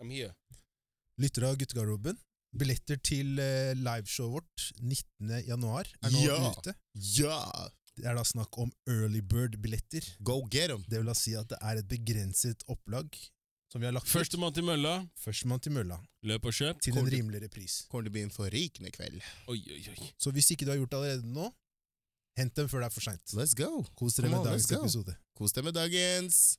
here. Lyttere av Guttegarderoben. Billetter til eh, liveshowet vårt 19. januar er nå Ja. ute. Yeah! Det er da snakk om early bird-billetter. Go get them! Det vil da si at det er et begrenset opplag som vi har lagt ut. Førstemann til mølla. Førstemann til mølla, Løp og kjøp. til en Kommer du- rimeligere pris. Kommer til å bli en forrykende kveld. Oi, oi, oi. Så hvis ikke du har gjort det allerede nå, hent dem før det er for seint. Let's go! Kos dere Come on, med let's dagens go. episode. Kos deg med dagens!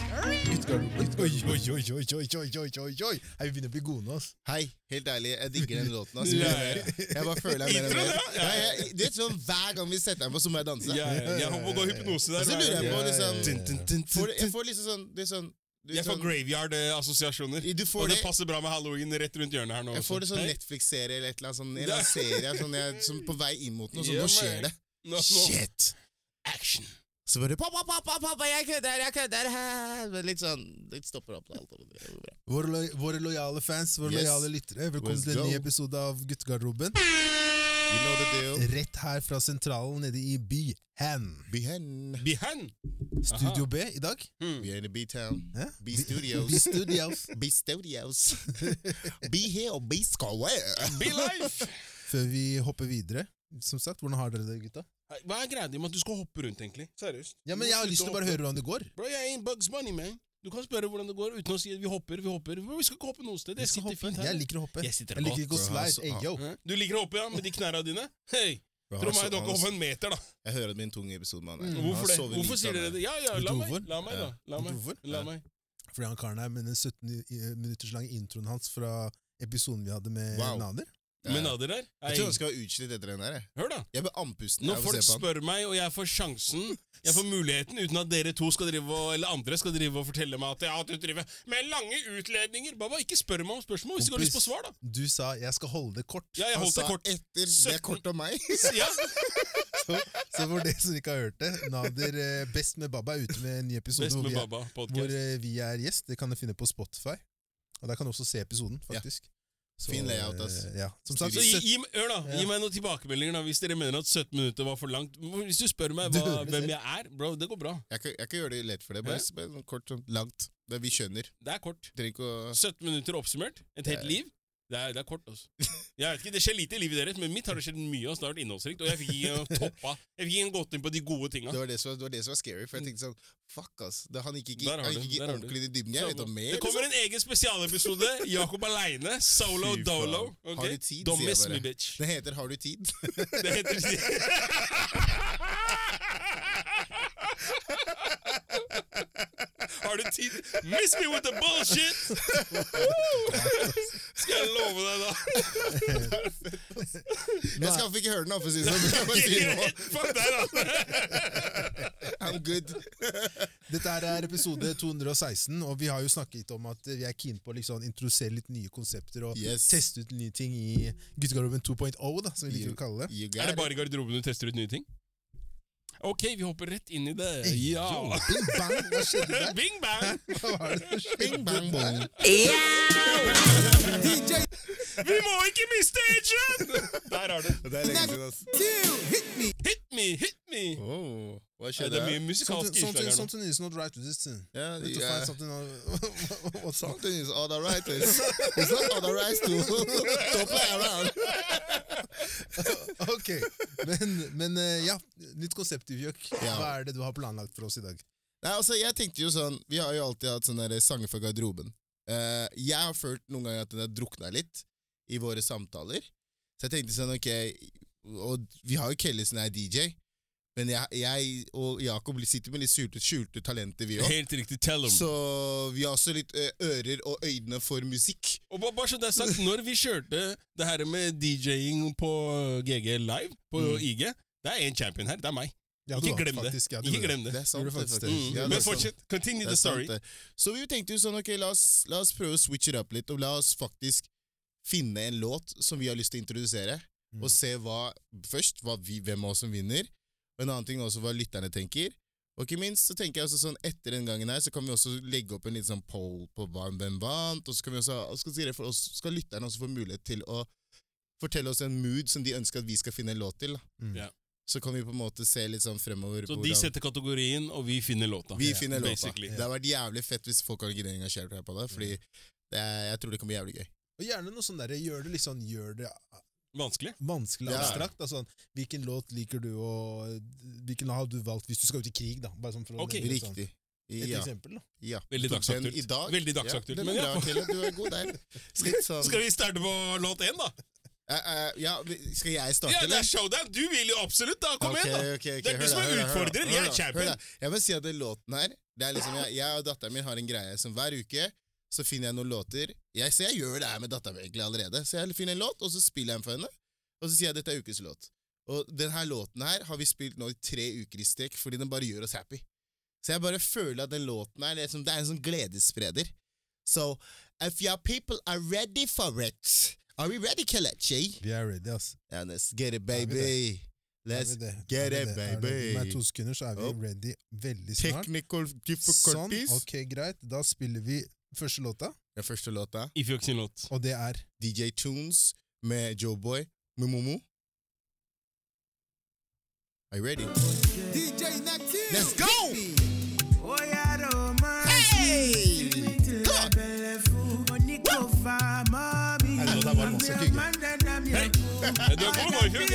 Oi, oi, oi, oi, oi, oi, oi, oi, oi. Hei, vi begynner å bli gode nå, altså. Hei, helt ærlig, jeg digger den låten. ass. Ja, ja. Jeg bare føler jeg mer og mer. Ja, jeg, det er sånn Hver gang vi setter den på, så må jeg danse. Ja, ja, jeg håper du har hypnose der. Og så lurer jeg på Ja, ja, ja. liksom Tin, tin, tin, tin, får, Jeg tin. får liksom sånn Det er sånn du, Jeg får sånn- graveyard-assosiasjoner. Du får Og det det- passer bra med halloween rett rundt hjørnet her nå. Jeg også. får det sånn Hei. Netflix-serie eller et eller annet sånn, en eller annen serie sånn, jeg, som på vei inn mot noe, sånn, Ja, altså. nå skjer men. det. Nå- nå- Shit! Action. Så bare Pappa, pappa, pappa, jeg kødder, jeg kødder! hæ?» Men Litt sånn Det stopper opp. Alt, og det går bra. Våre, lo våre lojale fans, våre Yes. lojale lyttere, velkommen Let's til en ny go. episode av Guttegarderoben. you know the deal. Rett her fra sentralen nede i Byhen. Behind. Behind. Studio B i dag. We are in the B-town. Hæ? B-studios. B-studios. B-studios. B-here og B-square. Be life! Før vi hopper videre, som sagt, hvordan har dere det, gutta? Hei, Hva er greia di med at du skal hoppe rundt, egentlig? Seriøst. Ja, Du må men Jeg har slutte lyst til å å bare hoppe. høre hvordan det går. Bro, jeg er in Bugs Bunny, man. Du kan spørre hvordan det går uten å si at vi hopper, vi hopper. Bro, Vi skal ikke hoppe noe sted. Jeg Jeg, skal sitter hoppe. fint her. jeg liker å hoppe. Jeg sitter Jeg liker ikke å godt, bro. slide. Hey, yo. Hæ? Du liker å hoppe, ja, med de knærne dine? Hei! Bro, Tro han meg, so- du har ikke han- hoppet en meter, da. Mm, Jeg hører at det blir en tung episode, mann. Hvorfor det? Hvorfor sier dere det? Ja, ja, Vet la du meg, hvorfor? la meg, da. La Vet du meg. hvorfor? La meg. Fordi han karen her med den 17 i- minutters lange introen hans fra episoden vi hadde med Wow. Nader. Ja. Men Nader der? Jeg tror Hei, han skal være utslitt etter den der. jeg. Hør, da. Jeg blir andpusten Når av å folk se på han. spør meg, og jeg får sjansen, jeg får muligheten, uten at dere to skal drive og, eller andre skal drive og fortelle meg at jeg har driver med lange utledninger Baba, ikke spør meg om spørsmål hvis du har lyst på svar, da. Du sa 'jeg skal holde det kort'. Ja, jeg Han holdt sa det kort. etter det 17. er kort av meg. Ja, Så for dere som ikke har hørt det, Nader eh, Best med Baba er ute med en ny episode Best hvor, med vi er, Baba hvor podcast. eh, vi er gjest. Det kan du finne på Spotify. Og der kan du også se episoden, Ja. faktisk. Så, Fin layout, ass. eh, Ja. Som sagt, Så gi, søtt- gi, hør da, Ja. gi meg noen tilbakemeldinger da, hvis dere mener at 17 minutter var for langt. Hvis du spør meg Du hva, hører det hvem selv. jeg er, bro, det går bra. Jeg kan, jeg kan gjøre det lett for deg. Bare Hæ? sp- sånn kort, sånn langt. Det vi skjønner. Det er kort. Trenger ikke å 17 minutter oppsummert, et helt liv. Det er, det er kort, altså. Jeg vet ikke, Det skjer lite i livet deres, men mitt har det skjedd mye. Altså, det har vært innholdsrikt, og jeg fikk ikke toppa. Jeg fikk ikke gått inn på de gode tinga. det var det, som, det var det som var scary, for jeg tenkte sånn Fuck, ass. Det, han gikk ikke, Mm. Der har han du, gikk ikke der har du. ordentlig i dybden. Jeg vet om mer. Det kommer en egen spesialepisode. Jakob aleine. Solo Fy faen. dolo. ok? Har du tid, Don't sier jeg miss bare. me, bitch. Det heter Har du tid? Det heter Har du tid? Miss me with the bullshit! Skal jeg love deg, da. Jeg skal ikke høre den, da, for å si det sånn. Jeg bare sier nå. Fuck deg, da. I'm good. Dette her er episode 216, og vi har jo snakket om at vi er keen på å liksom introdusere litt nye konsepter og Yes. teste ut nye ting i Guttegarderoben 2.0, da, som vi liker å kalle det. You got Er it. det bare i garderoben du tester ut nye ting? Ok, vi hopper rett inn i det. Ja. Yo, Bing bang, hva skjedde der? Bing bang! Hva var det som skjedde? Bing, bang, bang. Vi må ikke miste edgen! Der har du den. Det er lenge siden, ass. Hit me, hit me! Oh, hva Ja, det skjedde er mye her? musikalske Something, innslag something, her nå. sånn something is not right with this thing. Ja, Need to ja. find something on- what's wrong? Something is all right. It's, it's not all right to, to play around. Ok, men, men eh, ja, nytt konsept i Bjørk. Ja. Hva er det du har planlagt for oss i dag? Nei, altså, jeg tenkte jo sånn Vi har jo alltid hatt sånne der sanger for garderoben. Eh, jeg har følt noen ganger at den har drukna litt i våre samtaler. Så jeg tenkte sånn, ok Og vi har jo Kellesen er DJ, men jeg, jeg og Jakob sitter med litt skjulte, skjulte talenter, vi òg. Helt riktig. Tell them. Så vi har også litt eh, ører og øyne for musikk. Og bare, bare så det er sagt, når vi kjørte det her med DJ-ing på GG Live, på Mm. IG, det er én champion her. Det er meg. Ja, du ikke har glem det. faktisk- ja, du ikke gjorde glem det. Det er sant, Gjorde det, faktisk faktisk. det. Mm. Ja, det Men er sant. fortsett. Continue Det the er sant, story. det. Så vi tenkte jo sånn, ok, la oss, la oss prøve å switche it up litt, og la oss faktisk finne en låt som vi har lyst til å introdusere, Mm. og se hva, først hva vi, hvem av oss som vinner, og en annen ting også hva lytterne tenker. Og ikke minst så tenker jeg også sånn etter den gangen her så kan vi også legge opp en liten sånn poll på hva, hvem vant, og så kan vi også, og skal, si det for oss, skal lytterne også få mulighet til å fortelle oss en mood som de ønsker at vi skal finne en låt til. da. Mm. Ja. Så kan vi på en måte se litt sånn fremover. Så på de hvordan- setter kategorien, og vi finner låta. vi finner låta. Basically. Mm. Det har vært jævlig fett hvis folk har giddet å engasjere seg på det, fordi det er, jeg tror det kan bli jævlig gøy. Og gjerne noe sånn derre Gjør det litt sånn Gjør det Vanskelig. vanskelig Ja. abstrakt. Da, sånn, hvilken låt liker du, og hvilken har du valgt hvis du skal ut i krig? da Bare sånn for å Ok. nevne et sånt- Riktig. Et Ja. eksempel, da. ja. Veldig Tok den dagsaktuelt. I dag. Veldig dagsaktuelt, Ja, men men ja. bra, Kjell, du er god der. Litt sånn Skal vi starte på låt én, da? Eh, eh, ja, vi- Skal jeg starte, Ja, det er showdown! Du vil jo absolutt, da! Kom Ok, igjen, da! ok, ok, Det er du hør som da, er hør da, hør da, utfordrer, hør jeg er da, champion. hør da. Jeg må si at den låten her det er liksom, jeg, jeg og datteren min har en greie som hver uke så finner jeg noen låter. Jeg, så jeg gjør det her med datteren min egentlig allerede. Så jeg finner en låt, og så spiller jeg den for henne. Og så sier jeg dette er ukens låt. Og denne låten her har vi spilt nå i tre uker i strekk fordi den bare gjør oss happy. Så jeg bare føler at den låten her det er, som, det er en sånn gledesspreder. So if your people are ready for it Are we ready, Kelechi? Vi er ready, ass. Yeah, let's get it, Er vi det? baby. Er Let's vi det? get Er vi it, det? Er det- baby. Med to sekunder så er vi Opp. ready veldig snart. Technical Sånn, difficulties. ok, greit. Da spiller vi første låta, Den første låta, Ifjok sin låt. og det er DJ Tunes med Joeboy med Momo. Are you ready? DJ Nakim. Let's go! Hey! låta er varm også, Kygo. Ja, Du er god, nå, Ifjok.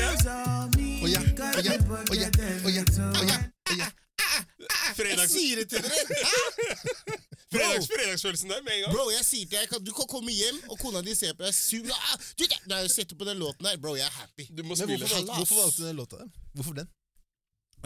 Ja. Å ja, å ja, å ja, å ja, å ja, å ja. Jeg Fredags, sier det til dere! fredags, fredagsfølelsen der med en gang. Bro, jeg sier til deg, kan- Du kan komme hjem, og kona di ser på deg sur. Ah, du, det- Når jeg setter på den låten der, bro, jeg er happy. Du må Men spille. hvorfor valgte, hvorfor valgte du den låta? Hvorfor den?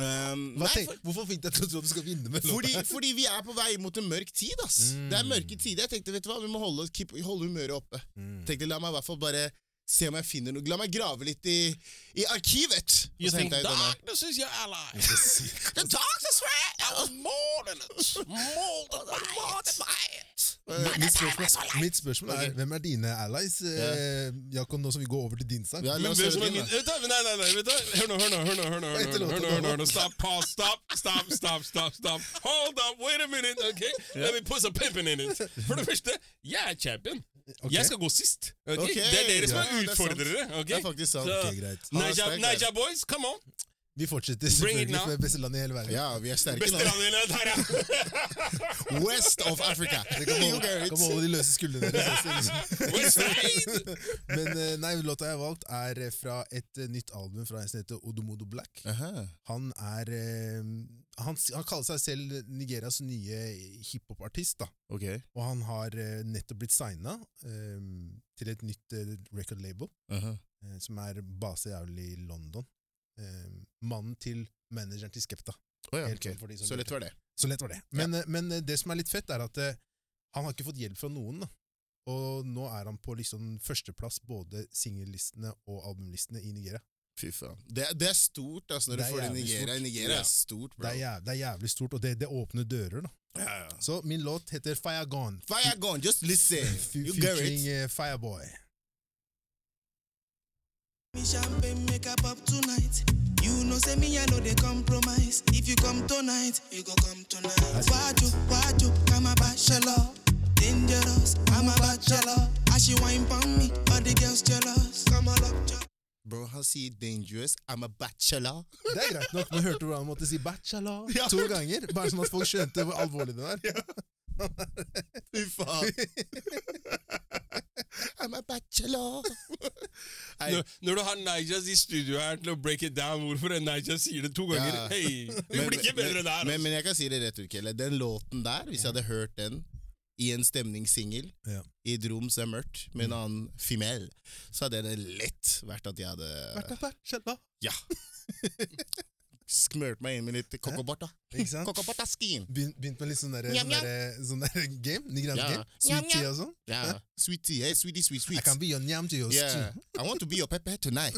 Um, Hva nei, tenk, for- hvorfor fikk jeg til å tro at du skal vinne med låta? fordi, fordi vi er på vei mot en mørk tid, ass. Det er mørke tider. Jeg tenkte, vet du hva, vi må holde, keep, holde humøret oppe. Tenkte, la meg i hvert fall bare se om jeg finner noe. La meg grave litt i, i arkivet. Og You så think hentet jeg ut denne. darkness is your ally. The darkness is right. I was more than it. More than it. More than it. Eh, Mitt spørsmål, mitt spørsmål er Ok. hvem er dine allies? Eh, Jakob, nå som vi går over til din sang. Ja, Men la oss hvem høre som er den, min da. Vet du hva? Nei, nei, nei, vet du hva? Hør nå, hør nå, hør nå, hør nå, hør nå, hør nå, hør nå, hør nå, hør nå. Stop, pause, stop, stop, stop, stop, stop. Hold up, wait a minute, ok? Let me put some pimpin in it. For det første, jeg er champion. Ok. Jeg skal gå sist. ok? Ok. Det er dere som Ja, er det er sant. utfordrere, ok? Det er faktisk sant. Så- Ok, greit. Naja, Hashtag der. Naja boys, come on. Er Vi fortsetter Bring it selvfølgelig, now. for det er beste landet i hele verden. Ja, vi er sterke Beste nå. landet der, ja. West of Africa. Dere kan You beholde, get it. kan beholde de løse skuldrene deres. også. West Side. Men eh, nei, låta jeg har valgt, er eh, fra et eh, nytt album fra en som heter Odomodo Black. Aha. Han er eh, han, s- han kaller seg selv Nigerias nye hiphop-artist, da. Ok. Og han har eh, nettopp blitt signa til et nytt eh, record label. Aha. eh, som er base jævlig i London. Eh, mannen til manageren til Skepta. Å ja, Helt ok. sånn for de som Så lett lurte. var det. Så lett var det. Men, eh, men eh, det som er litt fett, er at eh, han har ikke fått hjelp fra noen. Da. Og nå er han på liksom førsteplass både singellistene og albumlistene i Nigeria. Fy faen. Det, det er stort, altså, når Det du er får det i Nigeria. jævlig stort. Nigeria Ja. er stort, Det bro. er, jæv, det er jævlig stort, og det, det åpner dører. da. Så min låt heter Fire Gone. Fire gone, just listen. F- You get Featuring it. eh, Fireboy. Me champagne make up up tonight. You know, say me, I know they compromise. If you come tonight, you go come tonight. Watch you, watch you, I'm a bachelor. Dangerous, I'm a bachelor. As she wine pon me, all the girls jealous. Come all up, jo- Bro, han sier 'dangerous'. I'm a bachelor. Det er greit nok, men hørte du hvordan han måtte si 'bachelor' Ja. to ganger? Bare sånn at folk skjønte hvor alvorlig det var. Fy faen. I'm a bachelor. Nei, Når, når du har Najas i studio her til å break it down, hvorfor er Naja sier det to ganger? Ja. Hei, det blir ikke bedre der. Men, altså. men jeg kan si det rett ut, Kelle. Den låten der, hvis jeg hadde hørt den i en stemningssingel Ja. i et rom som er mørkt, med en annen female, så hadde det lett vært at jeg hadde Bachelor. Ja. Smørt meg inn med litt kokobota. Ikke sant? Kokobotaskin. Begyn- Begynt med litt sånn der, Mjau, sånn mjau. der, sånn der game. Nigeriansk Ja. game. Mjau, Sweet mjau. tea og sånn. Ja. Sweetie, hey, sweetie, sweet, I sweet. can be your nyam to yours Yeah, too. I want to be your pepper tonight.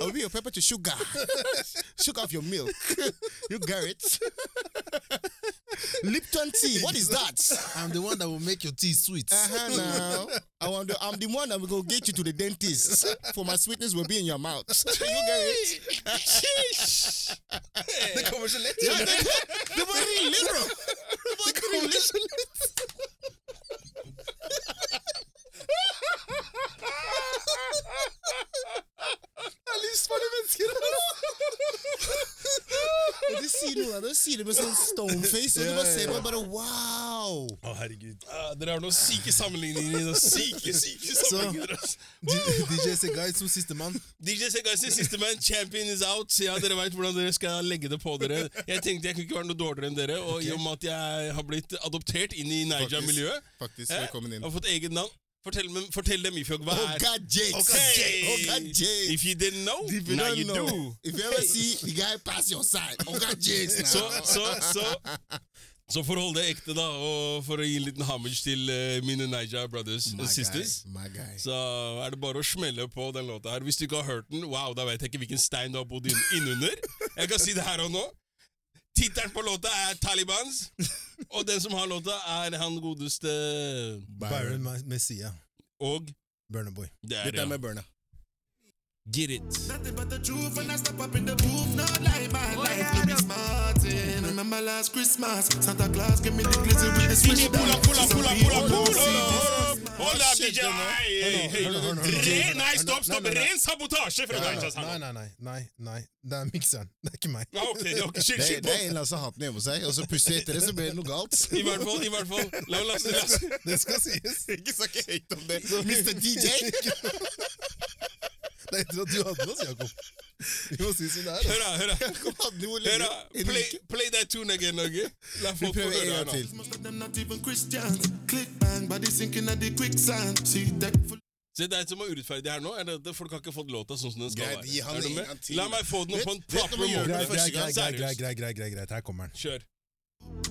I'll be your pepper to sugar. Sugar of your milk. You got it. Lipton tea. What is that? I'm the one that will make your tea sweet. Uh-huh, now. I want to, I'm the one that will go get you to the dentist. For my sweetness will be in your mouth. you get it? Det kommer så lett. Ja, det, det var rimelig, bro. Det var rimelig. Det er livsfarlige mennesker her. Og de sier noe av det, sier det med sånn stoneface, og du bare ser på det bare wow. Å, herregud. Ah, dere har noen syke sammenligninger. i det. Syke, syke sammenligninger. ass. D- DJ Segai som sistemann. DJ Segas i siste man, champion is out. Ja, dere veit hvordan dere skal legge det på dere. Jeg tenkte jeg kunne ikke være noe dårligere enn dere, og i og med at jeg har blitt adoptert inn i Niger-miljøet Faktisk, eh, velkommen inn. Har fått eget navn. Fortell, men, fortell dem, Ifjog, Oh, hva er Oga Jakes. Oga Jakes. If you didn't know, If you now don't you know, do. if you ever see the guy pass your side, Oga Jakes. now. Så, så, så så for å holde det ekte, da, og for å gi en liten homage til eh, mine Niger brothers My and sisters, guy, my guy. så er det bare å smelle på den låta her. Hvis du ikke har hørt den, wow, da vet jeg ikke hvilken stein du har bodd inn- innunder. Jeg kan si det her og nå. Tittelen på låta er Talibans, og den som har låta, er han godeste Byron Ma- Messia. Og Burnerboy. det er Dette er ja. med Burna. Get it. Nothing but the truth when I step up in the booth. Not like my life to be smarting. Remember last Christmas, Santa Claus gave me the glizzy with the Pull switch. up, pull up, pull up, pull up, pull up, Hold on, pull up. Hold see up, Shit, DJ. den er- Hei, hei. Hør nå, hør nå, hør nå, hør nå. Ren- Nei, stopp, stopp. Nei, nei, nei. Ren sabotasje fra Nei, Niger. nei, nei. nei, nei, nei. Det er mikseren. Det er ikke meg. Ok, det var ikke Det, skilt. det er en eller annen som har hatt den hjemme hos seg, og så plutselig etter det så ble det noe galt. I hvert fall, i hvert fall. La meg laste, laste. Det skal sies. Ikke snakke høyt om det, Mr. DJ! Det er etter at du hadde oss, Jakob. Vi må si som det er. da. Hør da, hør da. Kom, hadde den hvor Hør lenge? da, En play, uke? play that tune again, Norge. La folk Vi få prøver en høre her gang nå. til. Most of them not even Christians. Click bang, body sinking at the quicksand. See that full. Se, det er et som er urettferdig her nå, er det at folk har ikke fått låta sånn som den skal Greit, gi han Er du en med? gang til. La meg få den Vet- på en vet når proper man gjør måte. det Greit, første gang, greit, greit, greit, greit, Seriøst. greit, greit, greit, greit. Her kommer den. Kjør.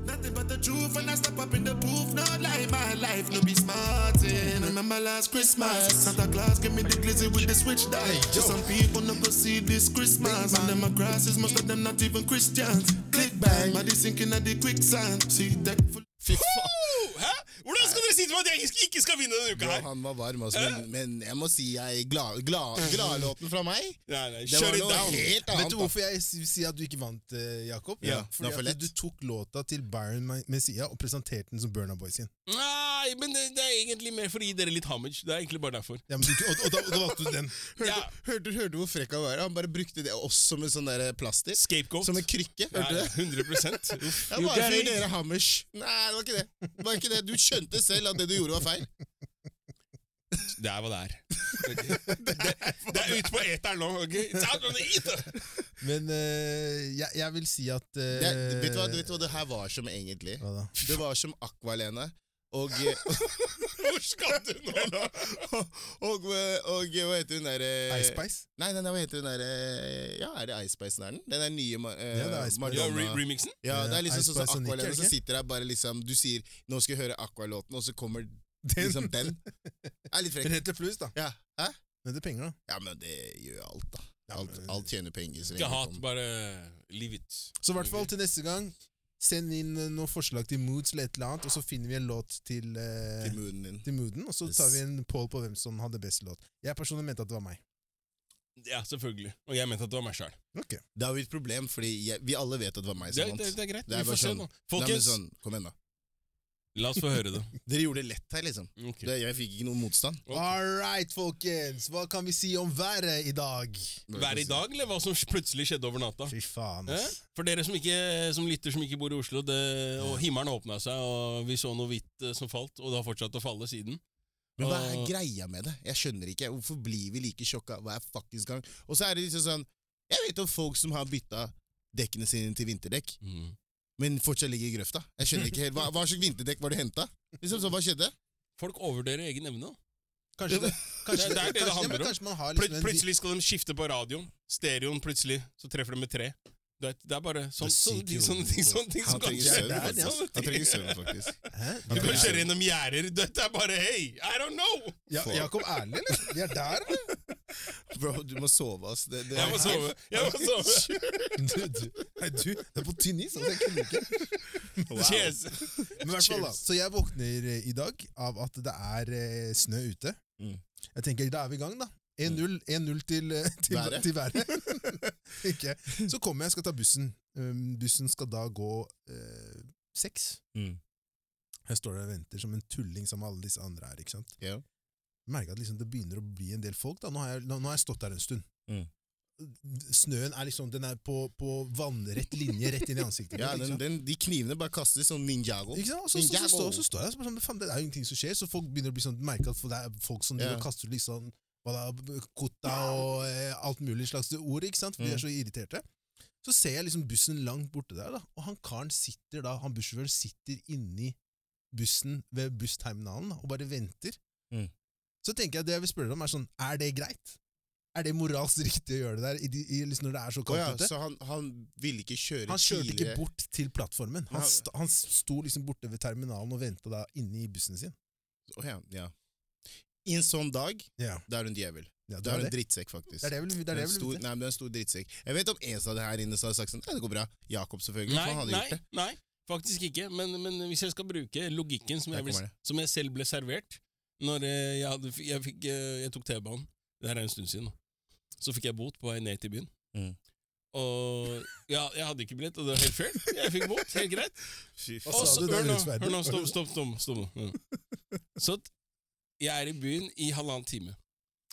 Nothing but the truth when I step up in the booth. Not like my life to be smarting. Remember last Christmas, Santa Claus gave me the glizzy with the switch die. Some people no go see this Christmas. And them a grasses, most of them not even Christians. Click bang, body sinking at the quicksand. See that full. Fy faen. Woo! Hæ? Hvordan skal dere si til meg at jeg ikke- ikke skal vinne denne uka Bra, her? han var varm, altså. Men, men jeg må si jeg glad- glad- Gladlåten fra meg Nei, nei, Det shut var it noe down. helt Vet annet. du da. hvorfor jeg si- sier at du ikke vant, eh, Jakob? Ja, det var for Fordi at lett. du tok låta til Byron Ma- Messia og presenterte den som Burna Boy sin. Nei, men det, det er egentlig mer for å gi dere litt homage. Det er egentlig bare derfor. Ja, men du, og, og, da, og da valgte du den. Ja, Hørte hørte du hvor frekk han var? Han bare brukte det også med sånn der plaster. Scapegoat. Som en krykke. Ja, Hørte du det? 100 Uff. Det var bare fordi dere har hammers. Nei, det var ikke det. det var ikke det. Du skjønte selv at det du gjorde, var feil. Det er hva det er. Det, det, det er ute på eteren nå. ok? It's out on the ether. Men eh, jeg, jeg vil si at eh, Det, vet, du hva, vet du hva det her var som egentlig? Hva da? Det var som Aqualene. Og eh, Hvor skal du nå, da? Og, og, og hva heter hun derre Eh, Ice Spice? Nei, nei, nei, hva heter den derre Ja, er det Ice Spice den er den? Den er nye ma- eh, Ja, det er Ice Spice. Ja, re Madonna. remixen? Ja, det er liksom Ice sånn som Spice og Nicki, er Aqualene det som ikke? sitter der bare liksom Du sier 'nå skal jeg høre Aqua-låten', og så kommer liksom den. Det er litt eh, frekk. Rett til flus, da. Ja. Hæ? Men det er penger, da. Ja, men det gjør jo alt, da. Ja, Alt, men- alt tjener penger. Så Ikke lenge hat, det bare leave it. Så i hvert fall til neste gang, send inn eh, noen forslag til moods eller et eller annet, og så finner vi en låt til, eh, kommer til moonen din. til mooden, og så Yes. tar vi en poll på hvem som hadde best låt. Jeg personlig mente at det var meg. Ja, selvfølgelig. Og jeg mente at det var meg sjøl. Ok. Det er jo et problem, fordi jeg, vi alle vet at det var meg Det, som det, vant. det er greit. Det Vi er bare får se sånn. nå. Nei, men Folkens, sånn, kom igjen, da. la oss få høre det. Dere gjorde det lett her, liksom. Ok. Det, jeg fikk ikke noe motstand. Ok. All right, folkens. Hva kan vi si om været i dag? Hver i dag, eller hva som plutselig skjedde over natta? sånn. Fy faen, Eh? ass. For dere som, ikke, som lytter som ikke bor i Oslo, det, og himmelen åpna seg, og vi så noe hvitt eh, som falt, og det har fortsatt å falle siden. Men hva er Og- greia med det? Jeg skjønner ikke. Hvorfor blir vi like sjokka hver fuckings gang? Og så er det liksom sånn Jeg vet om folk som har bytta dekkene sine til vinterdekk, Mm. men fortsatt ligger i grøfta. Jeg skjønner ikke helt. Hva, hva slags vinterdekk var det henta? Liksom sånn, hva skjedde? Folk overvurderer egen evne. da. Kanskje det, kanskje Det er det det kanskje- ja, handler men om. Kanskje man har Plut liksom en- plutselig skal de skifte på radioen. Stereoen plutselig, så treffer de med tre. Du vet, det er bare sånn, Det er sånne, syke ting, sånne ord. ting, sånne ting som Han kan trenger skje. søvn, det er Sånne det, faktisk. Han ting. trenger søvn, faktisk. Hæ? Du kan kjøre gjennom gjerder. Dette er bare Hei, I don't know! Ja, Jakob Erlig, eller? Vi er der, eller? Bro, du må sove, ass. Det, det Jeg må sove. Jeg må sove. Du, du, nei, du, det er på tynn is, altså. Jeg kunne ikke. Cheers. Men i hvert fall da, Så jeg våkner eh, i dag av at det er eh, snø ute. Mm. Jeg tenker, da er vi i gang, da. 1-0 1-0 til, eh, til Været. til været. Tenker jeg. Så kommer jeg og skal ta bussen. Um, bussen skal da gå eh, seks. Mm. Jeg står der og venter som en tulling sammen med alle disse andre her. ikke sant? Ja. Merker at liksom det begynner å bli en del folk. da. Nå har jeg, nå, nå har jeg stått der en stund. Mm. Snøen er liksom, den er på, på vannrett linje rett inn i ansiktet. Ja, mitt, ikke sant? den, den, de knivene bare kastes som ninjago. Ikke sant? Og så, så, så, Ninjago. står, så står jeg og spør sånn, faen, det er jo ingenting som skjer, så folk begynner å bli sånn, merke at det er folk som driver Ja. og kaster litt sånn hva da, kota og eh, alt mulig slags ord, ikke sant? For de Mm. er så irriterte. Så ser jeg liksom bussen langt borte der, da, og han karen sitter da, han bussjåføren sitter inni bussen ved bussterminalen da, og bare venter. Mm. Så tenker jeg, det jeg vil spørre om er sånn, er det greit? Er det moralsk riktig å gjøre det der, i, de- i, liksom når det er så Å ja, kaldt ute? så han, han ville ikke kjøre Han kjørte ikke tidligere. bort til plattformen. Han, Nei. st han sto liksom borte ved terminalen og venta da inne i bussen sin. Å ja, ja. I en sånn dag, Ja, da er du en djevel. ja det Da er var du en det. drittsekk, faktisk. Det er det jeg vil, det er det En jeg vil stor, vite. nei, men det er en stor drittsekk. Jeg vet om en som hadde her inne som hadde sagt sånn Nei, det går bra. Jakob, selvfølgelig. Nei, for han hadde nei, gjort det. nei. Faktisk ikke. Men, men hvis jeg skal bruke logikken som Der jeg, ble, kommer det. som jeg selv ble servert Når eh, jeg, hadde, jeg, fikk, eh, jeg tok T-banen Det her er en stund siden. da. Så fikk jeg bot på vei ned til byen. Mm. Og ja, jeg hadde ikke billett, og det var helt fair. Jeg fikk bot, helt greit. Fy Og faen. Hva sa så, du, det hør er nå, urettferdig. hør nå, stopp, stopp, stopp. stopp. nå. Ja. Mm. Så at jeg er i byen i halvannen time,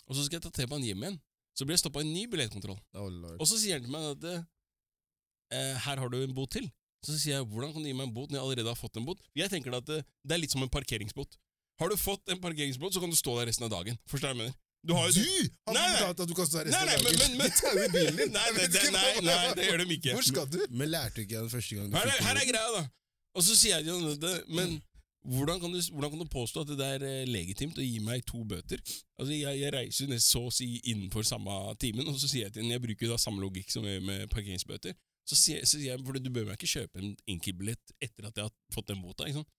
og så skal jeg ta T-banen hjem igjen. Så blir jeg stoppa i en ny billettkontroll. Oh, lord. Og så sier han til meg at eh, her har du en bot til. Så sier jeg hvordan kan du gi meg en bot når jeg allerede har fått en bot? Jeg tenker at eh, det er litt som en parkeringsbot. Har du fått en parkeringsbot, så kan du stå der resten av dagen. Forstår du hva jeg mener? Du har jo Du! Han Nei, har nei. betalt at du kan stå her Nei, nei, resten av men, men, dagen. men. Tau i bilen din. Nei, nei, det, nei, nei, det gjør de ikke. Hvor skal du? Men lærte du ikke den første gang du Her er, fikk her den? er greia, da. Og så sier jeg til han dette, men hvordan kan, du, hvordan kan du påstå at det er eh, legitimt å gi meg to bøter? Altså, Jeg, jeg reiser jo nesten så å si innenfor samme timen, og så sier jeg til henne Jeg bruker jo da samme logikk som jeg gjør med parkeringsbøter. Så sier, så sier jeg for du bør meg ikke kjøpe en enkeltbillett etter at jeg har fått den bota. Ikke sant?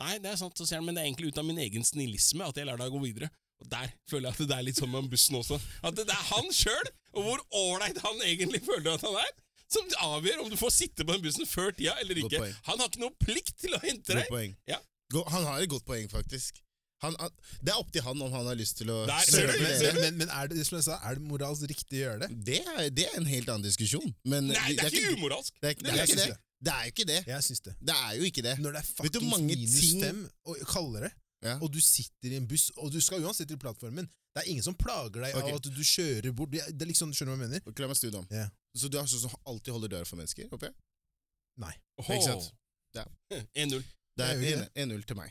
Nei, det er sant, så sier han, men det er egentlig ut av min egen snillisme at jeg lar deg gå videre. Og Der føler jeg at det er litt sånn med bussen også. At det det er han sjøl, og hvor ålreit han egentlig føler at han er, som avgjør om du får sitte på den bussen før tida eller Godt ikke. poeng. Han har ikke noe plikt til å hente Godt deg. poeng. Ja. Go- Han har et godt poeng, faktisk. Han, han, det er opp til han om han har lyst til å Der, ser Men, du? serve Ser men, du? men, men er, det, som jeg sa, er det moralsk riktig å gjøre det? Det er, det er en helt annen diskusjon. Men Nei, det er ikke humor. umoralsk. Det er, ikke- det er Jeg ikke syns det. Det er jo ikke det. Jeg syns det. Det er jo ikke det. Når det er Vet du fuckings mange minus ting- fem og kaldere, Ja. og du sitter i en buss, og du skal uansett til plattformen Det er ingen som plager deg Ok. av at du kjører bort. Det er- det er liksom, skjønner du hva jeg mener? Ok, La meg snu det om. Ja. Så du er sånn som alltid holder døra for mennesker? håper jeg? Åhå. Ikke sant? Ja. 1-0. Det Det er jo er ikke 1-0 til meg.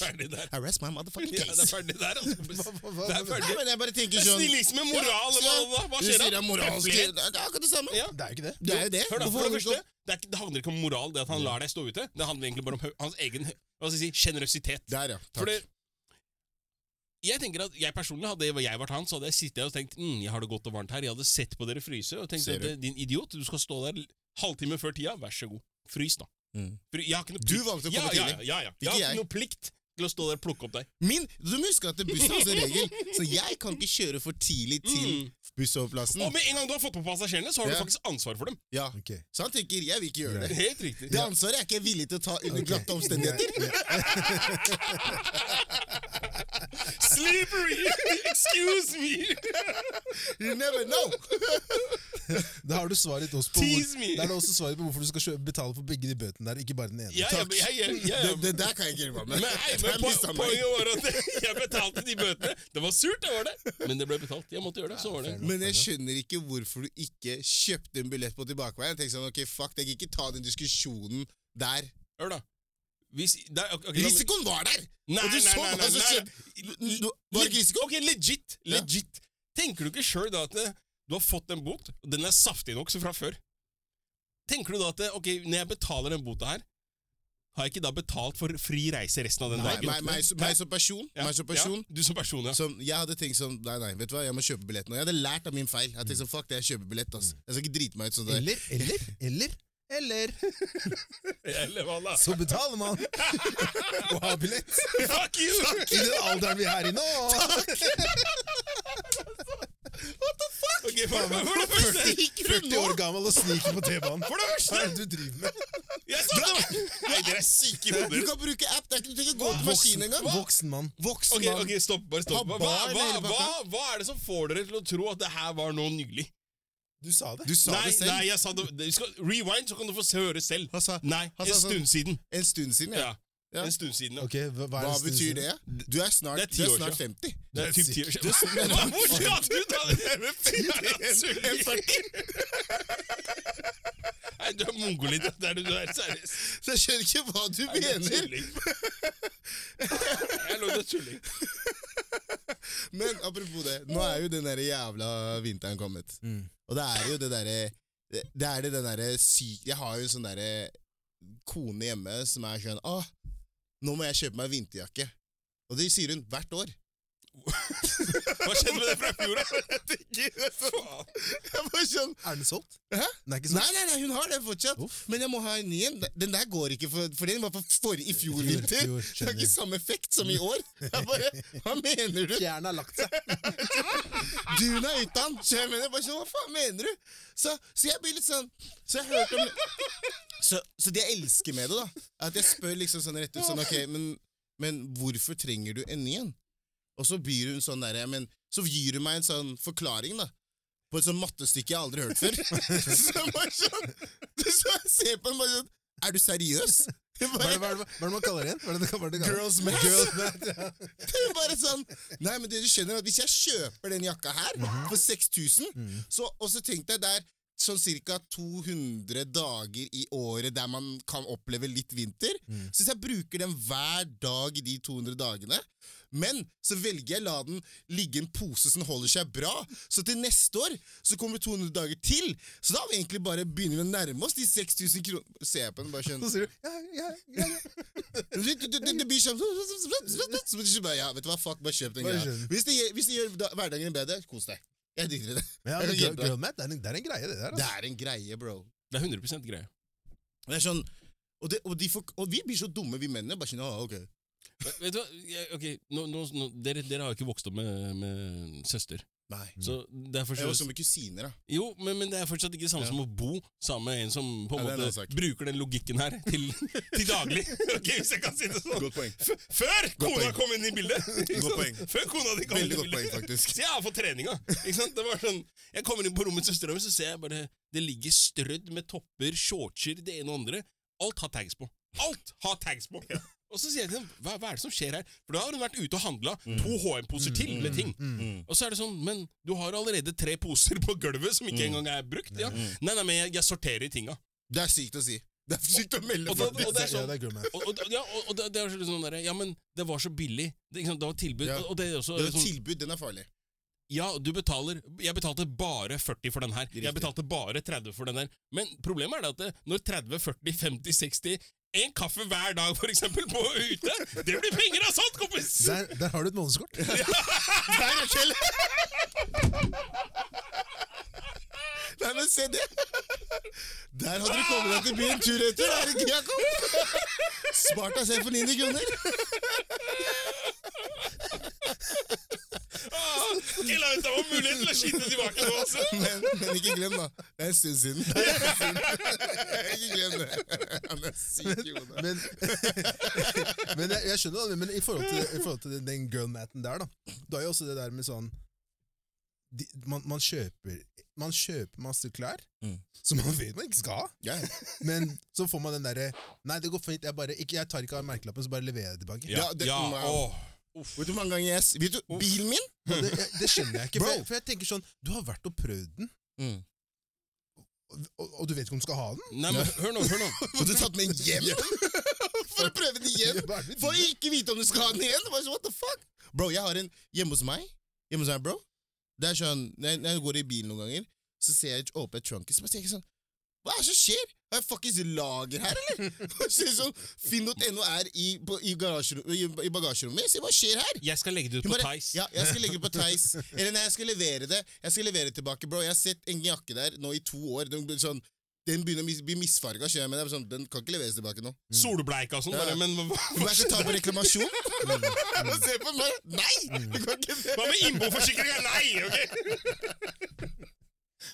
Ferdig der. I rest my Ja, motherfucking det er case. ferdig der, altså. Hva- hva- Det er hva- ferdig. Nei, men jeg bare tenker Det er sånn snillisme, moral, hva, hva, hva Du skjer sier det er moralsk. Høflighet. Det er akkurat det samme. Ja. Det er jo ikke det. Det er jo det. Hør da, Hvorfor for har det du første, ikke- det, er, ikke- det handler ikke om moral, det at han lar deg stå ute. Det handler egentlig bare om hø- hans egen hva skal jeg si, generøsitet. Der, ja. Takk. For det- jeg tenker at jeg personlig hadde jeg vært han, så hadde jeg sittet her og tenkt mm, jeg har det godt og varmt her. Jeg hadde sett på dere fryse og tenkt Ser at du? din idiot, du skal stå der halvtime før tida, vær så god. Frys, da. Mm. Fry- Jeg har ikke noe Du plikt. valgte å ja, komme ja, tidlig. ja, ja. Jeg Ikke har jeg. ikke noe plikt til å stå der og plukke opp deg. Min, du må huske at det bussen har også en regel, så jeg kan ikke kjøre for tidlig til Mm. bussholdeplassen. Og med en gang du har fått på passasjerene, så har du Ja. faktisk ansvar for dem. Ja, Ok. Så han tenker 'jeg vil ikke gjøre det'. Helt riktig. Det ansvaret er ikke jeg villig til å ta under Ok. glatte omstendigheter. Slippery! Excuse me! You never know! Da har du svaret også på, hvor, Tease me! da er det også svaret på hvorfor du skal kjø- betale for begge de bøtene der, ikke bare den ene. Ja, ja, men jeg, jeg, jeg, Det, det der kan jeg ikke gjøre meg med. Men, hei, Det men er po mistet meg. poenget var at jeg betalte de bøtene. Det var surt, det var det, men det ble betalt. Jeg måtte gjøre det, så var det. Men jeg skjønner ikke hvorfor du ikke kjøpte en billett på tilbakeveien. Jeg tenkte sånn, ok, fuck, jeg kan ikke ta den diskusjonen der. Hør, da. Hvis, der, ok, ok, la meg- Risikoen var der! Nei, og du nei, så nei, hva nei, som nei. skjedde. Nå- Var det ikke risiko? Ok, legit. Ja. Legit. Tenker du ikke sjøl da at eh, du har fått en bot, og den er saftig nok så fra før? Tenker du da at eh, ok, når jeg betaler den bota her, har jeg ikke da betalt for fri reise resten av den Meg, dagen? meg, meg, som- meg som person. Ja, Meg som person Ja, du som person, ja. som, jeg hadde tenkt sånn Nei, nei, vet du hva, jeg må kjøpe billetten. Og jeg hadde lært av min feil. Jeg tenkte sånn, fuck det, jeg kjøper billett, ass. Mm. Jeg skal ikke drite meg ut sånn der. Eller, eller, eller, eller Eller hva da? så betaler man og har billett Fuck you! i den alderen vi er i nå. Ok, for, for, for det første, 40 år gammel og sniker på T-banen. for det Hva første er det du driver med? jeg sa det! Nei, dere er syke i Du hodet. kan bruke app, det er ikke, du trenger ikke gå til maskinen engang. voksen mann. Voksen Ok, mann. ok, stopp, bare stopp. Hva, Ta hva, bar hva, hele hva, pakka. hva er det som får dere til å tro at det her var nå nylig? Du sa det. Du sa Nei, det selv. nei, jeg sa det du skal, Rewind, så kan du få se- høre selv. Han sa, Nei, han en sa sånn- stund siden. En stund siden, ja. Ja, en stund siden. ja. Ok, hva, hva, er Hva det- betyr det? Du er snart, Det er ti du er år snart 50. Det er typ ti år siden. Nei, Hvor skal du ta det med Nei, du er mongolid. Det er du, du er seriøst. Så jeg skjønner ikke hva du Du er mener. tulling. Jeg lå tulling. Men apropos det, nå er jo den der jævla vinteren kommet. Mm. Og det er jo det derre Det er det den derre syk... Jeg har jo en sånn derre kone hjemme som er sånn Åh, nå må jeg kjøpe meg vinterjakke. Og det sier hun hvert år. Hva skjedde med det fra fjor, da? Faen. Jeg bare sånn Er den solgt? Hæ? Den er ikke Nei, solgt? nei, nei, hun har det fortsatt. Uff. Men jeg må ha en ny en. Den der går ikke, for, for den var for, for i fjor I fjor, vinter. fjor, Det har skjønner. ikke samme effekt som i år. Jeg bare, Hva mener du? Fjæren har lagt seg. Dun er ute han. Så jeg mener bare sånn, hva faen mener du? Så, så jeg blir litt sånn Så jeg hørte om så, så det jeg elsker med det, da, er at jeg spør liksom sånn rett ut sånn Ok, men, men hvorfor trenger du en ny en? Og så blir hun sånn derre Men så gir hun meg en sånn forklaring, da. På et sånt mattestykke jeg aldri har hørt før. Så jeg bare sånn Så jeg ser på henne bare sånn Er du seriøs? Jeg Hva er bare, det, hva er det, hva er det man kaller det igjen? Hva er det, hva er det, Girls math. Girls math, ja. Det er bare sånn Nei, men det du skjønner er at hvis jeg kjøper den jakka her for 6000, så, og så tenk deg det er Sånn ca. 200 dager i året der man kan oppleve litt vinter. Så hvis jeg bruker den hver dag i de 200 dagene Men så velger jeg å la den ligge i en pose som holder seg bra. Så til neste år så kommer 200 dager til. Så da har vi egentlig bare begynner vi å nærme oss de 6000 kroner Ser jeg på den bare skjønner Så sier du ja, ja, ja, ja. det, det, det, det blir sånn Så du bare, ja, vet du hva, fuck, bare kjøp den Bare greia. kjøp. Hvis det, gjør- hvis det gjør da- hverdagen bedre, kos deg. Jeg digger det. Men Jeg ja, men kan girl, hjelpe deg. girl math, det er en, det er en greie, det der. Det Altså. er en greie, bro. Det er 100 greie. Det er sånn, og, det, og, de får, og vi blir så dumme, vi mennene. Bare sånn, ah, ok. Vet- Vet du hva? Jeg- Ok, nå, nå, nå, dere, dere har jo ikke vokst opp med, med søster. Nei. Så derfor Jeg var som så, med kusiner, da. Jo, men, men det er fortsatt ikke det samme som å bo sammen med en som på en Ja, det er en annen måte sak. bruker den logikken her til, til daglig. Ok, Hvis jeg kan si det sånn. Godt poeng. F- Før kona poeng. kom inn i bildet! ikke Godt sant? poeng. Før kona di kom inn i Veldig godt poeng, bildet. faktisk. Så jeg har fått treninga. Ikke sant? Det var sånn, jeg kommer inn på rommet til søstera mi, så ser jeg bare det ligger strødd med topper, shortser, det ene og andre. Alt har tags på. Alt har tags på! Og så sier jeg til dem hva, hva er det som skjer her? For da har hun vært ute og handla Mm. to HM-poser til med ting. Og så er det sånn, men du har allerede tre poser på gulvet som Mm. ikke engang er brukt. Ja. Nei, nei, men jeg, jeg sorterer i tinga. Det er sykt å si. Det er sykt å melde, Og da- faktisk. og det er Ja, sånn, det er girl math. og, og, ja, og, og det, det er sånn derre, Ja, men det var så billig. Det, ikke sant, det var tilbud. Ja. Og, og det er også Det er et sånn, tilbud, den er farlig. Ja, du betaler Jeg betalte bare 40 for den her. Jeg Riktig. betalte bare 30 for den her. Men problemet er det at det, når 30, 40, 50, 60 En kaffe hver dag, for eksempel, på ute, det blir penger av sånt, kompis! Der, der har du et månedskort. Der er Kjell! Nei, men se det! Der hadde du kommet deg til byen tur etter, herregud, Jakob! Spart deg selv for 900 kroner. Ah, ikke la ut av meg muligheten til å skyte tilbake nå, altså! Men, men ikke glem, da. Det er en stund siden. Ikke glem det. Han er syk i hodet. Men, men jeg, jeg skjønner det, men i forhold til, i forhold til den girl mathen der, da Du har jo også det der med sånn de, man, man kjøper Man kjøper masse klær Mm. som man vet man ikke skal ha, Ja. men så får man den derre 'Nei, det går fint, jeg, bare, ikke, jeg tar ikke av merkelappen, så bare leverer jeg det tilbake'. Ja, Ja, det- ja, wow. åh. Vet du hvor mange ganger jeg s- Vet du, bilen min? Og det, jeg, det skjønner jeg ikke, for Bro. jeg, for jeg tenker sånn Du har vært og prøvd den, Mm. og, og, og du vet ikke om du skal ha den? Nei, men hør nå, hør nå. Har du tatt med den hjem? For å prøve den igjen? Hva er det For du- å ikke vite om du skal ha den igjen! Bare sånn, What the fuck? Bro, jeg har en hjemme hos meg. Hjemme hos meg, bro. Det er sånn, når jeg, når jeg går i bilen noen ganger, så ser jeg åpne et trunkie, så bare tenker jeg sånn Hva er det som skjer? Har jeg fuckings lager her, eller? Og så er det sånn, Finn.no er i, på, i, garasjerom- i, i bagasjerommet. Se hva skjer her? Jeg skal legge det ut på Hun bare, Tice. Ja, jeg skal legge det på Theis. Eller nei, jeg skal levere det. Jeg skal levere det tilbake, bro. Jeg har sett en jakke der nå i to år. Den, blir sånn, den begynner å mis- bli misfarga, skjønner jeg. Men jeg er sånn, den kan ikke leveres tilbake nå. Solbleika og sånn, bare. Ja. Men hva, Men hva, jeg skal ta på reklamasjon. Og se på meg. Nei! Du kan ikke det. hva med innboforsikringa? Nei! ok?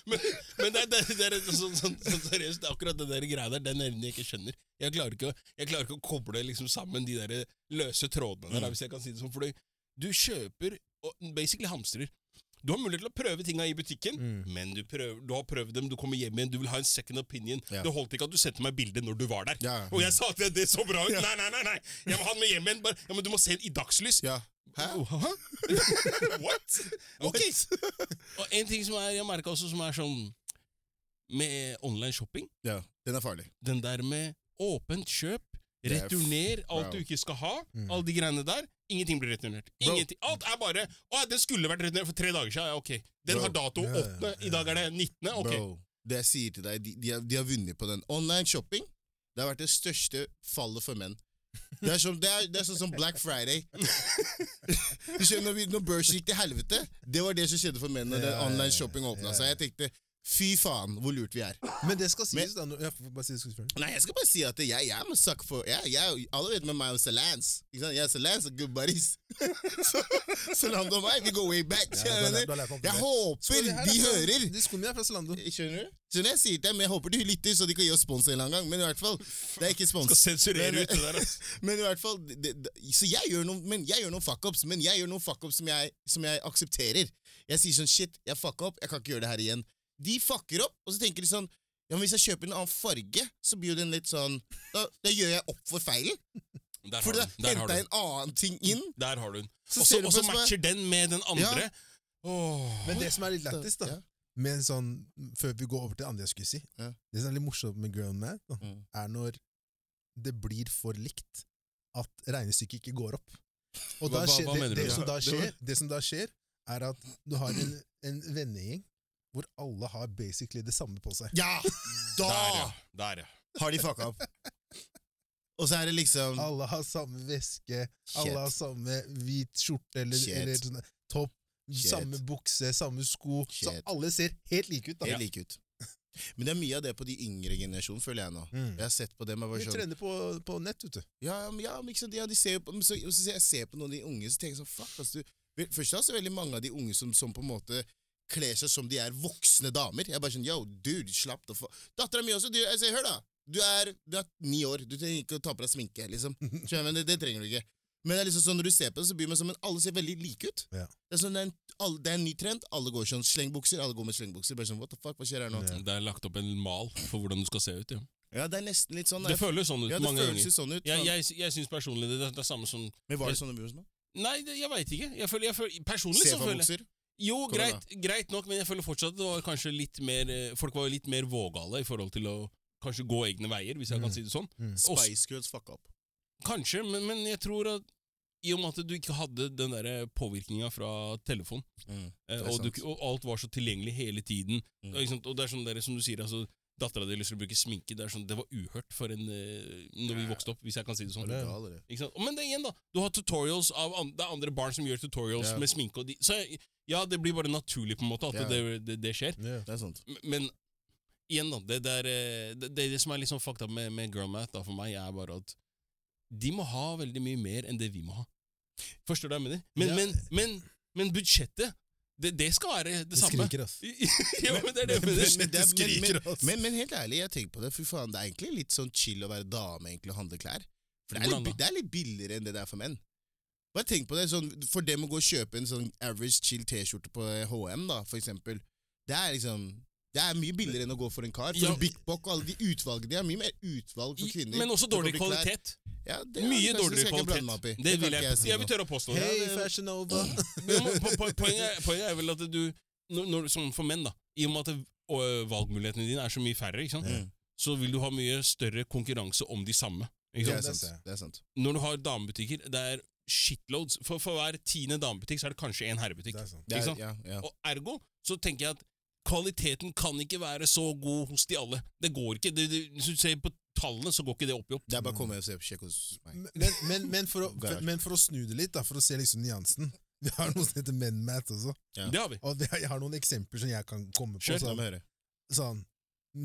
Men, men det, er- det, det er et sånn, sånn, sånn seriøst, akkurat den der greia der, den evnen jeg ikke skjønner. Jeg klarer ikke, å- jeg klarer ikke å koble liksom sammen de der løse trådene der, da, hvis jeg kan si det sånn. For du kjøper og basically hamstrer. Du har mulighet til å prøve tinga i butikken, men du, prøver, du har prøvd dem, du kommer hjem igjen, du vil ha en second opinion. Ja. Det holdt ikke at du sendte meg bilde når du var der. Ja. Og jeg sa at det- det så bra ut. Nei, nei, nei, nei. Jeg må ha den med hjem igjen. Bare, ja, men du må se den i dagslys. Ja. Hæ? Oh, hæ? What? Ok. Og en ting som er, jeg merka også, som er sånn med online shopping, ja. Den er farlig. den der med åpent kjøp, Det er f- returner alt bro. du ikke skal ha, alle de greiene der. Ingenting blir returnert. Bro. Ingenting. Alt er bare Å, den skulle vært returnert for tre dager siden. Ja, ok. Den Bro. har dato Ja, ja, 8., i dag er det 19., ok. Bro, det jeg sier til deg, de, de, har, de har vunnet på den. Online shopping det har vært det største fallet for menn. Det er, som, det, er, det er sånn som Black Friday. Du skjønner, når, vi, når børsen gikk til helvete, det var det som skjedde for menn når den Ja, ja, online ja, shopping ja, åpna ja. seg. Jeg tenkte fy faen, hvor lurt vi er. Men det skal sies, da. nå- Ja, for- bare si det skal spørre. Nei, jeg skal bare si at jeg, jeg er med suck for jeg, jeg, Alle vet med meg og Salance. Ikke sant? Jeg og Salance er good buddies. Så Salando og meg, vi går way back. Ja, du har lært- skjønner du har lært du? meg opp i det. Jeg håper Skoene her de er fra- hører. De skoene mine er fra Zalando. Skjønner du? Skjønner jeg sier til dem, jeg håper de lytter, så de kan gi oss spons en eller annen gang. Men i hvert fall, det er ikke Skal spons. sensurere Men- ut det der, altså. Men i hvert fall, det, det, så jeg gjør noen, men jeg gjør noen fuck-ups, men jeg gjør noen fuck-ups som, jeg- som jeg aksepterer. Jeg sier sånn, shit, jeg fucka opp, jeg kan ikke gjøre det her igjen. De fucker opp, og så tenker de sånn, ja, men hvis jeg kjøper en annen farge, så blir jo den litt sånn, da, da gjør jeg opp for feilen. Der For har da du den. Der har hentet du jeg den. en annen ting inn. Der har du den. Så Og så- ser du Og på så som er- matcher den med den andre. Ja. Åh. Men det som er litt lættis, da Ja. med en sånn, Før vi går over til det andre jeg skulle si Ja. Det som er litt morsomt med Girl Mad, da, Mm. er når det blir for likt at regnestykket ikke går opp. Og Hva- da hva- skjer, hva mener det, det, du? som da Det var- skjer, det som da skjer, er at du har en, en vennegjeng hvor alle har basically det samme på seg. Ja, da Der, ja. Der, ja. har de fucka opp. Og så er det liksom, Alle har samme veske, alle har shit, samme hvit skjorte eller, Shit. eller sånn topp, Shit. samme bukse, samme sko. Så Shit. alle ser helt like ut. da. helt like ut. Men det er mye av det på de yngre generasjonen, føler jeg nå. Mm. Jeg har sett på dem og Vi bare sånn trener på, på nett, vet du. Ja, ja, men- ja, men ikke sant, ja de ser jo på, men så, og så ser jeg ser på noen av de unge, så tenker jeg sånn Fuck, ass, du Vel, Først er det veldig mange av de unge som, som på en måte kler seg som de er voksne damer. Jeg er bare sånn Yo, dude, slapp da faen Dattera mi også, du, jeg sier, hør da. Du er, du er ni år, du trenger ikke å ta på deg sminke, liksom. Skjønner jeg, Men det, det trenger du ikke. Men det er liksom sånn, når du ser på det, så blir man sånn Men alle ser veldig like ut. Ja. Det er sånn, det er en, alle, det er en ny trend. Alle går sånn slengbukser, alle går med slengbukser. Bare sånn, what the fuck, hva skjer her nå? Ja. Det er lagt opp en mal for hvordan du skal se ut. Ja. Ja, det er nesten litt sånn. Det jeg- føles sånn ut ja, det mange føles ganger. jo sånn ut. Jeg, men- jeg, jeg syns personlig det, det er det samme som men var det sånn det ble hos meg? Nei, det, jeg veit ikke. Jeg føler, jeg føler, personlig så føler jeg Sefa-bukser? Jo, Kom igjen, greit, greit nok, men jeg føler fortsatt det var kanskje litt mer eh, Folk var litt mer vågale i forhold til å kanskje gå egne veier, hvis jeg Mm. kan si det sånn. Og s- Spice Girls fucka opp. Kanskje, men, men jeg tror at i og med at du ikke hadde den der påvirkninga fra telefon, eh, Det er og, du, sant. ku- og alt var så tilgjengelig hele tiden Mm. og, ikke sant, og det er sånn der, som du sier, altså Dattera di lyst til å bruke sminke. Det, er sånn, det var uhørt for en eh, Når vi vokste opp, hvis jeg kan si det sånn. Ja, det er det. Ikke sant? Men det er igjen da, du har tutorials av an det er andre barn som gjør tutorials Ja. med sminke og de Så jeg, ja, det blir bare naturlig på en måte at Ja. det, det, det skjer. Det er sant. M- Men igjen, da. Det, der, eh, det, det, er det som er litt sånn fucked up med, med girlmath da, for meg, er bare at de må ha veldig mye mer enn det vi må ha. Forstår du hva jeg mener? Men, Ja. men, men, men budsjettet, det, det skal være det, samme. skriker, ass. ja, men det er det jeg Men, mener. men, det er, men, skriker, men, ass. men, men helt ærlig, jeg tenker på det. Fy faen, det er egentlig litt sånn chill å være dame egentlig og handle klær. For det er, Hvordan litt, da? bi- det er litt billigere enn det det er for menn. Bare tenk på det, sånn, For dem å gå og kjøpe en sånn average chill T-skjorte på HM, da, for eksempel, det er liksom det er mye billigere enn å gå for en kar. Ja. For Big Bock og alle de utvalgene De har mye mer utvalg for kvinner. Men også Det kan dårlig bli klær. kvalitet. Ja, det er- Mye kanskje dårligere skal jeg ikke blande meg kvalitet. opp i. Det kan vil ikke jeg, si jeg noe om. vil tørre å påstå. det. Hei, Fashion Nova! Jo, men po- po- poenget, er- poenget er vel at du, når, når, som for menn, da i og med at det, og, ø, valgmulighetene dine er så mye færre, ikke sant? Mm. så vil du ha mye større konkurranse om de samme. Det Ikke er sant? det ser sant. Det er sant. Når du har damebutikker, det er shitloads. For, for hver tiende damebutikk så er det kanskje en herrebutikk. Det er sant. Det er, sant? ja, ja. Og Ergo så tenker jeg at Kvaliteten kan ikke være så god hos de alle. Det går ikke. Det, det, hvis du ser på tallene, så går ikke det opp i opp. Det er bare å komme og se på sjekk hos meg. Men, men, men, for å, for, men for å snu det litt, da, for å se liksom nyansen Vi har noe som heter MenMat også. Ja. Det har vi. Og det- jeg har noen eksempler som jeg kan komme på. La Sånn, meg høre. sånn.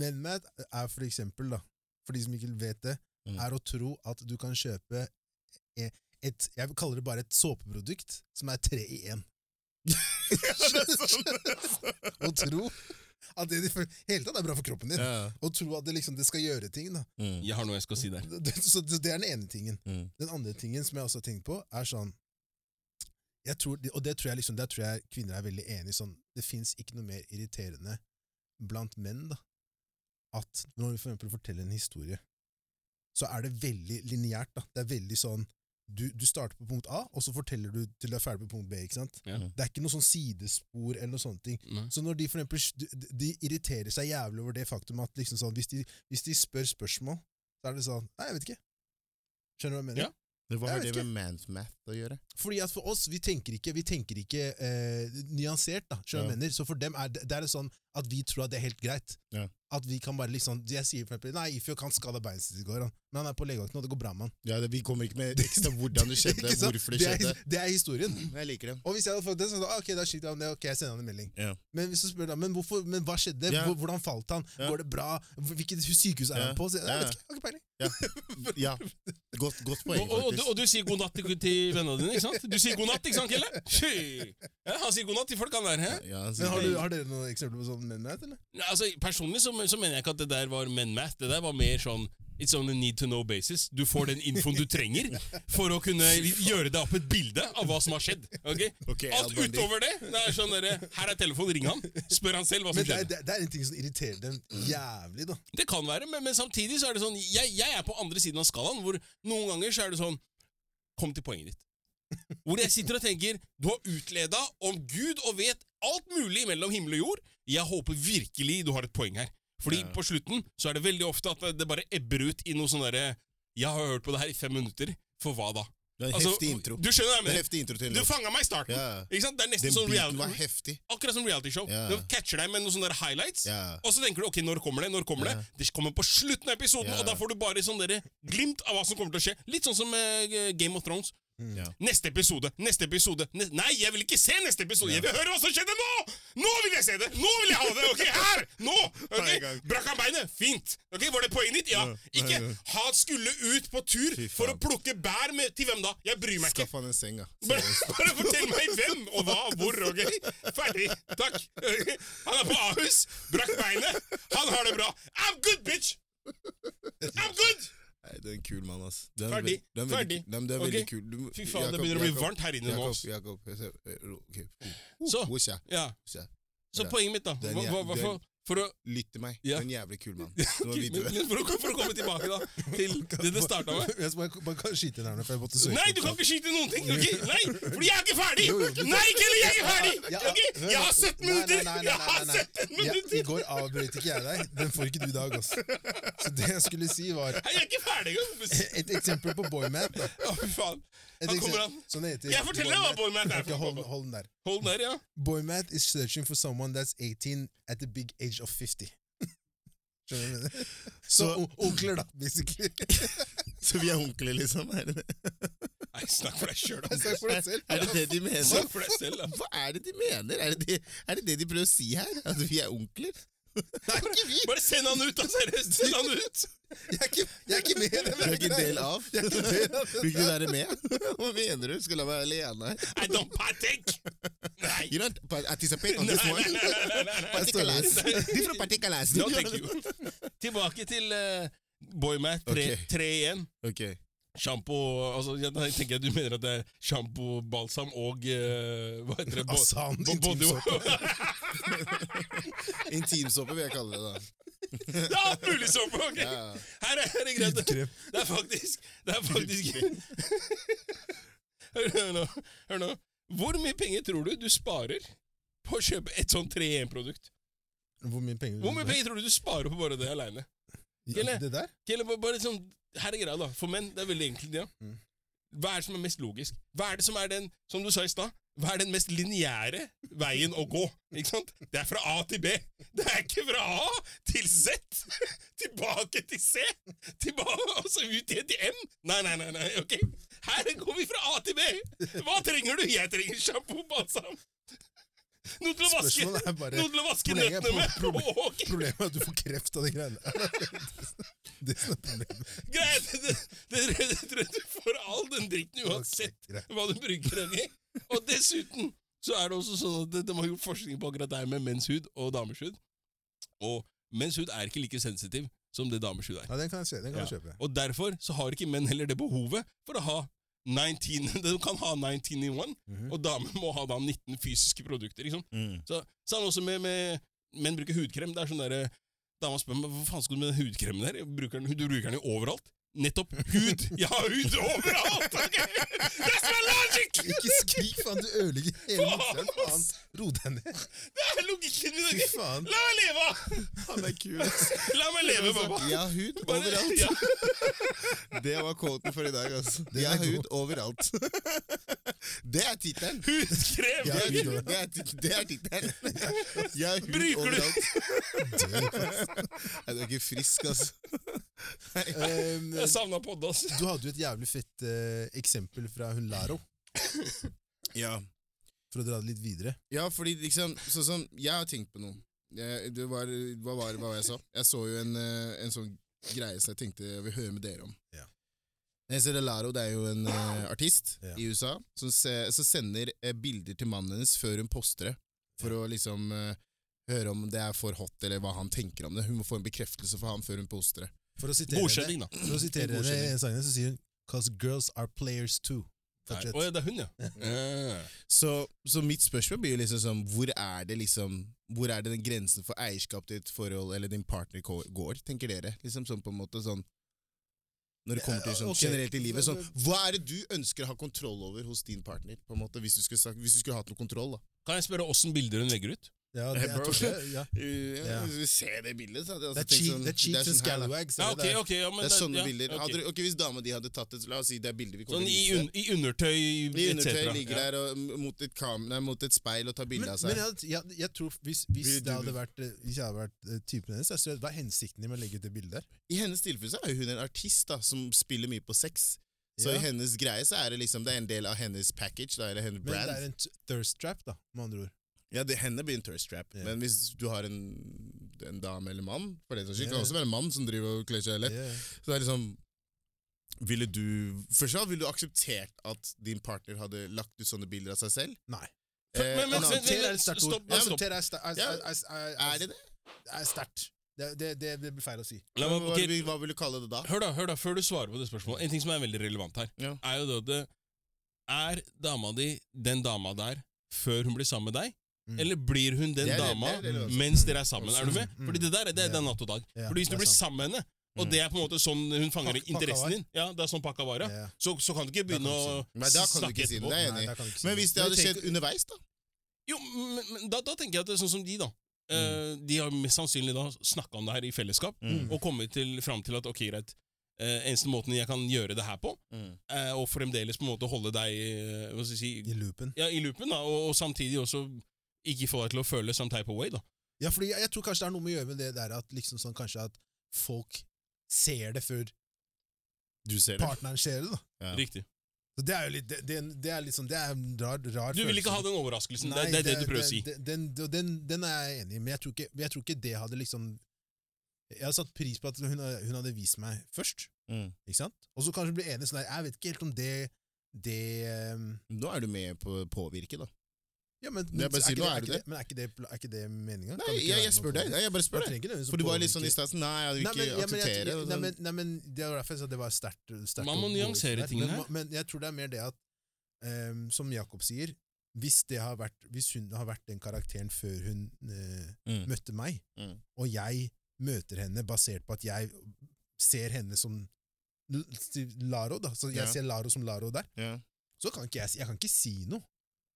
MenMat er for eksempel, da, for de som ikke vet det, Mm. er å tro at du kan kjøpe e- et Jeg vil kalle det bare et såpeprodukt som er tre i én. sånn. Å tro at det i det hele tatt er bra for kroppen din. Ja. Å tro at det, liksom, det skal gjøre ting. da. Mm. Jeg har noe jeg skal si der. Det- Så det det er den ene tingen. Mm. Den andre tingen som jeg også har tenkt på, er sånn jeg tror, Og det tror jeg liksom, der tror jeg kvinner er veldig enige i. Sånn, det fins ikke noe mer irriterende blant menn da, at når vi for eksempel forteller en historie, så er det veldig lineært. da. Det er veldig sånn du, du starter på punkt A, og så forteller du til du er ferdig på punkt B. ikke sant? Ja. Det er ikke noe sånn sidespor eller noe sånne ting. Nei. Så når de for eksempel, de- de irriterer seg jævlig over det faktum at liksom sånn, hvis, de, hvis de spør spørsmål, så er det sånn Nei, jeg vet ikke. Skjønner du hva jeg mener? Ja. Men Hva Jeg har vet det med man's-math å gjøre? Fordi at for oss, vi tenker ikke, vi tenker ikke eh, nyansert, da, skjønner du hva jeg mener. Så for dem er det, det er det sånn at vi tror at det er helt greit. Ja. At vi kan bare liksom Jeg sier for eksempel Nei, Ifjok han skada beinet sitt i går, han. men han er på legevakten, og det går bra med han. Ja, det, Vi kommer ikke med ekstra hvordan det skjedde, Ikke sant? hvorfor det Det er- skjedde. Det er historien. Men jeg liker det. Og hvis jeg hadde fått det, så hadde jeg sagt, «Ah, ok, det er skitt, ja, men det er ok, jeg sender han en melding. Ja. Men hvis du spør da, men, hvorfor, men hva skjedde, Ja. Hvor- hvordan falt han, Ja. går det bra, hvilket sykehus er Ja. han på? Så, jeg, Ja, jeg vet ikke, jeg har ikke peiling. Ja, Godt, godt Og, poeng, og, og, du, faktisk. og du sier god natt til, til vennene dine, ikke sant? Du sier god natt, ikke sant, Kelle? Fy! Ja, han sier god natt til folk, han der. Hæ? Ja, altså, han sier Men har, det. du, har dere noen eksempler på sånn menighet, eller? Nei, altså, personlig så, så mener jeg ikke at det der var men-math. Det der var mer sånn It's on a need to know basis. Du får den infoen du trenger for å kunne gjøre deg opp et bilde av hva som har skjedd. ok? Ok, Alt Al Bundy. utover det det er sånn derre Her er telefonen, ring han. Spør han selv hva som Men det er, skjedde. det, er- det er en ting som irriterer dem jævlig, da. Det kan være, men, men samtidig så er det sånn jeg, jeg er på andre siden av skalaen, hvor noen ganger så er det sånn Kom til poenget ditt. Hvor jeg sitter og tenker Du har utleda om Gud og vet alt mulig mellom himmel og jord. Jeg håper virkelig du har et poeng her. Fordi Ja. på slutten så er det veldig ofte at det bare ebber ut i noe sånn derre Jeg har hørt på det her i fem minutter. For hva da? Det er en Altså, heftig intro. Du skjønner hva jeg Det er en mener? heftig intro til en Du låt. fanga meg i starten. Ja. Ikke sant? Det er nesten Den sånn beaten var reality, heftig. akkurat som realityshow. Ja. Du catcher deg med noen sånne der highlights. Ja. Og så tenker du ok, når kommer det? når kommer Ja. Det Det kommer på slutten av episoden, Ja. og da får du bare sånn dere glimt av hva som kommer til å skje. Litt sånn som eh, Game of Thrones. Ja. Neste episode, neste episode ne Nei, jeg vil ikke se neste episode! Jeg vil høre hva som skjedde nå! Nå vil jeg se det! Nå vil jeg ha det! Ok, her! Nå! Hver Ok, gang. Brakk han beinet? Fint! Ok, Var det poenget ditt? Ja. Ja. Ikke Ja. Han skulle ut på tur Fy for å faen. plukke bær med Til hvem da? Jeg bryr meg ikke. Skaff han en seng, da. Bare, bare fortell meg hvem og hva, hvor, ok? Ferdig. Takk. Han er på Ahus, brakk beinet, han har det bra. I'm good, bitch! I'm good! Nei, du er en kul mann, ass. Du er en Ferdig. veld- du er en Ferdig. veldig- Nei, men Du er veldig Ok. kul. Du, Fy faen, det begynner å bli varmt her inne nå. Jakob, ass. Jakob. jeg ser- eh, ro- ok. Så, Hos jeg, ja. hos jeg. Så poenget mitt, da. Det er en Hva, hva, jæv- hva, det er en- for, for å Lytt til meg. Du Ja. er en jævlig kul mann. Du må men, vite det. men for, å, for å komme tilbake da til det det starta med. Jeg skal bare, bare skyte inn her nå, for jeg måtte søke. Nei, opp sånn. du kan det. ikke skyte noen ting! ok? Nei, Fordi jeg er ikke ferdig! Jo, jo, du- Nei, Kelly, jeg er ikke ferdig! Ja, ok? Jeg har 17 nei, nei, minutter! nei, nei, Jeg har nei, nei. 17 Ja, I minutter! går avbrøt ikke jeg deg. Den får ikke du i dag, ass. Så det jeg skulle si, var Nei, Jeg er ikke ferdig engang! et eksempel på boymat. da. Å, fy faen. Et Her kommer eksempel- han. Sånn heter Jeg forteller deg hva boymat er Ok, for Hold, faen. hold den der. Hold den der, ja. Boymat is searching for someone that's 18 at the big age of 50. Skjønner du hva jeg mener? Så o- onkler, da, basically. Så vi er onkler, liksom? Er det det, Nei, snakk for deg sjøl, da. Jeg sa for deg selv. er det, det de mener? Snakk for deg selv, da. Hva er det de mener? Er det det, er det det de prøver å si her? At vi er onkler? Det er ikke vi! Bare send han ut, da! Seriøst, send han ut! Jeg er ikke, jeg er ikke med i den Du er ikke en del av? Vil ikke del av det. ikke du være med? Hva mener du? Skal jeg være alene her? I don't partake! Nei. You don't pa- anticipate on Nei, this nei, nei, one? nei, nei, nei, nei. Particulars. Different particulars. No, thank you. Tilbake til eh, Boymat 3 Ok. igjen. Ok. Sjampo altså, jeg, da tenker jeg du mener at det er sjampo, balsam og eh, Hva heter det? Bo- Asan bo- body- Intimsåpe vil jeg kalle det, da. Det er alt mulig såpe! ok? Ja, ja. Her er det greit. Det er faktisk Det er faktisk hør, hør nå. Hør nå. Hvor mye penger tror du du sparer på å kjøpe et sånn 3-1-produkt? Hvor mye penger Hvor mye penger tror du du sparer på bare det aleine? Kille? Det der? Bare, bare sånn, her er greia, da. For menn, det er veldig enkelt, ja. Mm. Hva er det som er mest logisk? Hva er det som er den, som du sa i stad, Hva er den mest lineære veien å gå? Ikke sant? Det er fra A til B. Det er ikke fra A til Z, tilbake til C, tilbake, og så ut igjen til M. Nei, nei, nei, nei, ok. Her går vi fra A til B. Hva trenger du? Jeg trenger sjampo, balsam. Noe til å vaske, Spørsmålet er bare- noe til å vaske Problemet er nøttene med. pro- problem- Å, ok. Problemet er at du får kreft av de greiene der. Det som er problemet. Greit, det, det, det, det, du får all den dritten uansett Ok, greit. hva du bruker den i. Og dessuten så er det også sånn at de, de har gjort forskning på akkurat det her med menns hud og damers hud. Og menns hud er ikke like sensitiv som det damers hud er. Ja, den kan jeg, se, den kan jeg Ja. kjøpe. Og derfor så har ikke menn heller det behovet for å ha 19 De kan ha 19 in one, Mhm. og damer må ha da 19 fysiske produkter. liksom. Mm. Så Samme også med, med menn bruker hudkrem. Det er sånn derre Dama spør meg hva faen skal du med den hudkremen der? Jeg Bruker den, du bruker den jo overalt. Nettopp hud! Jeg har hud overalt! ok? That's my logic! Ikke skrik, faen! Du ødelegger hele Faen, miksen. Faen! Ro deg ned. Det er logikken min! Fy ok? faen. La meg leve! Han er kul. La meg leve, mamma! Jeg har hud Bare- overalt. Ja. Det var quoten for i dag, altså. Den Jeg har er god. hud overalt. Det er tittelen. Hudkrem! Ja, Det er tit- det er tittelen. Jeg har hud Bruker du- overalt. Nei, Du er ikke frisk, altså. Um, Jeg savna podda, ass. du hadde jo et jævlig fett eh, eksempel fra hun Laro, Ja. for å dra det litt videre. Ja, fordi liksom, sånn som jeg har tenkt på noe. Jeg, det var, hva var det hva var jeg så? Jeg så jo en, eh, en sånn greie som jeg tenkte jeg vil høre med dere om. Ja. Nelson Laro det er jo en eh, artist Ja. i USA som, se, som sender eh, bilder til mannen hennes før hun poster det, for å liksom eh, høre om det er for hot, eller hva han tenker om det. Hun må få en bekreftelse for han før hun poster det. For å sitere henne, Godkjenning, da. for å sitere henne i en sang her, så sier hun Cause girls are players too. Nei, Fortsett. Å ja, det er hun, ja. ja. Så, så mitt spørsmål blir jo liksom sånn, hvor er det liksom, hvor er det den grensen for eierskap til ditt forhold eller din partner ko- går, tenker dere? Liksom sånn på en måte sånn, når det kommer til sånn Ok. eh, generelt i livet, sånn, hva er det du ønsker å ha kontroll over hos din partner, på en måte, hvis du skulle, sagt, hvis du skulle hatt noe kontroll da? Kan jeg spørre åssen bilder hun legger ut? Ja, det er Bro. tårlig, ja. Ja. Hvis vi ser det bildet, så hadde jeg altså Det er cheat- tenkt sånn, det er cheats and sånn her, da. scalawags. Ja, er det ok, der. ok, ja, men Det er sånne ja, bilder. ok. Hadde, du- ok, hvis dama di hadde tatt et, la oss si det er bilder vi kommer Sånn til i, å vise. un, i undertøy, I undertøy etc. ligger Ja. der og, mot, et kam, nei, mot et speil og tar Men, bilder av men seg. jeg, hadde- jeg, jeg tror hvis, hvis, Vil du- det hadde vært, eh, hvis jeg hadde vært eh, typen hennes, jeg tror, hva er hensikten din med å legge ut det bildet der? I hennes tilfelle så er jo hun en artist da, som spiller mye på sex. Så Ja. i hennes greie så er det liksom det er en del av hennes package, da, eller hennes Men det er brand. en t- thirst trap, da, med andre ord. Ja, det, henne blir en thirst trap. Ja. Men hvis du har en, en dame eller mann, for det saks skyld, Ja, kan ja. også være en mann som driver og kler seg lett, Ja. så det er liksom Ville du Først av alt, ville du akseptert at din partner hadde lagt ut sånne bilder av seg selv? Nei. Eh, Men- men- en men- annen ting- Akseptere er et sterkt ord. Stopp, stopp. Akseptere er sta- er- Ja. er- er- er- er det det? er sterkt. Det, det, det, det blir feil å si. La meg, hva, ok, vil- hva vil du kalle det da? Hør da, hør da, før du svarer på det spørsmålet En ting som er veldig relevant her Ja. Er jo det at det- Er dama di den dama der Før hun blir sammen med deg? Mm. Eller blir hun den Det er det- dama det er det også. Mens dere er sammen, er du med? Mm. Fordi det der, det er det er natt og dag Ja, Fordi hvis du det er blir sant. sammen med henne Og Mm. det er på en måte sånn hun fanger Pakk- pakka var. interessen din Ja, det er sånn pakka varer Ja. så, så kan du ikke kan begynne du å si sånn. Nei, da kan du snakke ikke si det. etterpå. Det er jeg Nei, enig i. da kan vi ikke si Men hvis det hadde Men skjedd tenk- underveis, da? Jo, men, men da, da tenker jeg at det er sånn som de, da. Eh, de har mest sannsynlig da snakka om det her i fellesskap, Mm. og kommet til, fram til at ok, greit, eh, eneste måten jeg kan gjøre det her på, Mm. eh, og fremdeles på en måte holde deg eh, hva skal jeg si, I loopen. ja, i loopen, da, og, og samtidig også ikke få deg til å føle some type of way, da. Ja, fordi jeg, jeg tror kanskje det er noe med å gjøre med det der at liksom sånn kanskje at folk ser det før Du ser partneren ser det, da. Ja. Riktig. Så det er jo litt Det, det, det er liksom Det er en rar, rar Du vil ikke ha den overraskelsen, Sånn, det, det er det du prøver å si. Den, den, den, den er jeg enig i, men jeg tror, ikke, men jeg tror ikke det hadde liksom Jeg hadde satt pris på at hun, hun hadde vist meg først, Mm. ikke sant? Og så kanskje bli enig sånn der Jeg vet ikke helt om det Det ehm, Nå er du med på å påvirke, da. Ja, men, Jeg bare er sier, ikke nå er er du ikke det. Men er ikke det, er ikke det meninga? Nei, jeg, jeg spør deg. Nei, jeg bare Du spør deg. trenger ikke nødvendigvis å For du var litt påvirke. sånn i starten Nei, jeg vil Nei, men, ikke ja, men, jeg, akseptere. jeg, og nei, sånn. men, nei, men Det var derfor jeg sa det var sterkt. sterkt Man må å gå ut nyansere der. tingene men, her. ma- Men jeg tror det er mer det at, ehm, som Jakob sier, hvis, det har vært, hvis hun har vært den karakteren før hun eh, Mm. møtte meg, Mm. og jeg møter henne basert på at jeg ser henne som L- si- Laro, da. Så jeg Ja. ser Laro som Laro der. Ja. Så kan ikke jeg, si- jeg kan ikke si noe.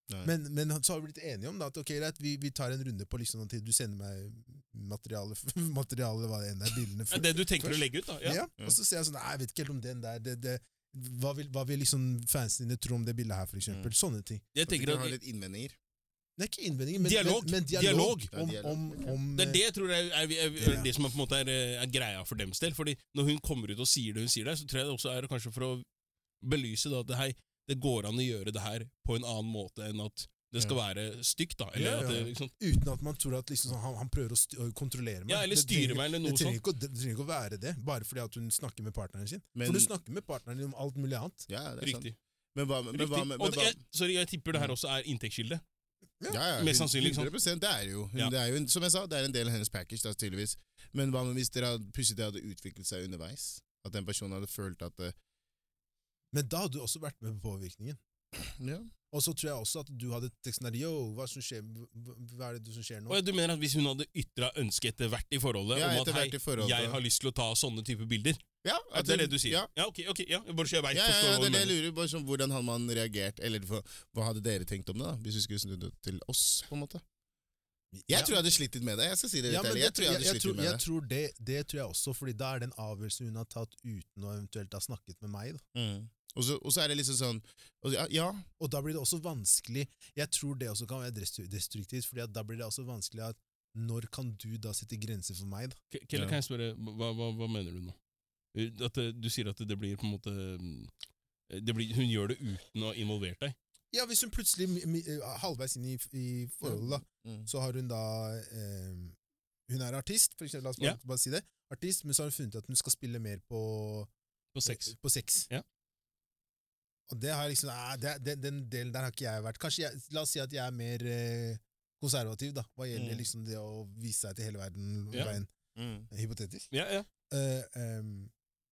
Nei. Men, men så har vi blitt enige om da, at ok, greit, vi, vi tar en runde på liksom at du sender meg materiale, materiale hva det enn er, bildene Ja, Det du tenker å legge ut, da. Ja. ja. Og så ser jeg sånn Nei, jeg vet ikke helt om den der det, det, Hva vil, hva vil liksom fansen dine tro om det bildet her, for eksempel? Sånne ting. Jeg At de tenker kan ha at litt innvendinger. Det er ikke innvendinger, men Dialog. Men, men Dialog. dialog, Ja, dialog. om, om, om Mm. det er det jeg tror er, er, er, er Ja. det som er, på en måte er, eh, er greia for dems del. Fordi når hun kommer ut og sier det hun sier der, så tror jeg det også er kanskje for å belyse da, at hei, det går an å gjøre det her på en annen måte enn at det skal være stygt, da. Eller, Ja, at ja. det, liksom, Uten at man tror at liksom, sånn, han, han prøver å, st å kontrollere meg. ja, eller Det styre trenger- meg, eller Det noe sånt. trenger, ikke, å- det trenger ikke å være det, bare fordi at hun snakker med partneren sin. Men- For du snakker med partneren din om alt mulig annet. Ja, det er sant. Riktig. Men hva med, men Riktig. hva med, Og men det- hva, Mm. jeg, sorry, jeg tipper det her også er inntektskilde. ja, ja, mest sannsynlig, ikke sant? 100 det er det jo. Hun, Ja. det er jo en, som jeg sa, det er en del av hennes package, da, tydeligvis. Men hva med hvis dere hadde, plutselig det hadde utviklet seg underveis? At den personen hadde følt at eh, Men da hadde du også vært med på påvirkningen. ja. Og så tror jeg også at du hadde teksten der Yo, hva, som skjer, hva- hva er det som skjer nå? Og ja, du mener at hvis hun hadde ytra ønske etter hvert i forholdet Ja, om etter at hei, hvert i forholdet. jeg har lyst til å ta sånne type bilder ja, at Det er det hun- du sier? Ja. Ja, ok, ok, ja, bare så jeg vet Ja, ja, forstår ja, hva du det er det jeg mener. lurer på. Sånn, hvordan hadde man reagert? Eller hva- hva hadde dere tenkt om det, da? Hvis vi skulle snudd det til oss, på en måte? Jeg tror jeg hadde slitt litt med det. Jeg skal si det litt Ja, men ærlig. det- Jeg tror jeg hadde jeg slitt tror- litt med jeg det. tror det. Det tror jeg også, fordi da er det en avgjørelse hun har tatt uten å eventuelt ha snakket med meg. Da. Mm. Og så- Og så er det liksom sånn og, ja, ja, Og da blir det også vanskelig Jeg tror det også kan være destru- destruktivt, fordi at da blir det også vanskelig at når kan du da sette grenser for meg, da? K- Kelle, Ja. kan jeg spørre, hva, hva, hva mener du nå? Uh, At eh, Du sier at det blir på en måte mm, det blir, Hun gjør det uten å ha involvert deg. Ja, hvis hun plutselig, mi- mi- eh, halvveis inn i, i forholdet, da, Mm. så har hun da eh, Hun er artist, for eksempel, la oss bare, Ja. bare si det. Artist, men så har hun funnet at hun skal spille mer på, eh, På sex. På sex. Ja. Og det har liksom nei, det, den, den delen der har ikke jeg vært Kanskje jeg, La oss si at jeg er mer eh, konservativ, da, hva gjelder Mm. liksom det å vise seg til hele verden. Ja. Veien. Mm. Hypotetisk. Ja, ja. Eh, ehm,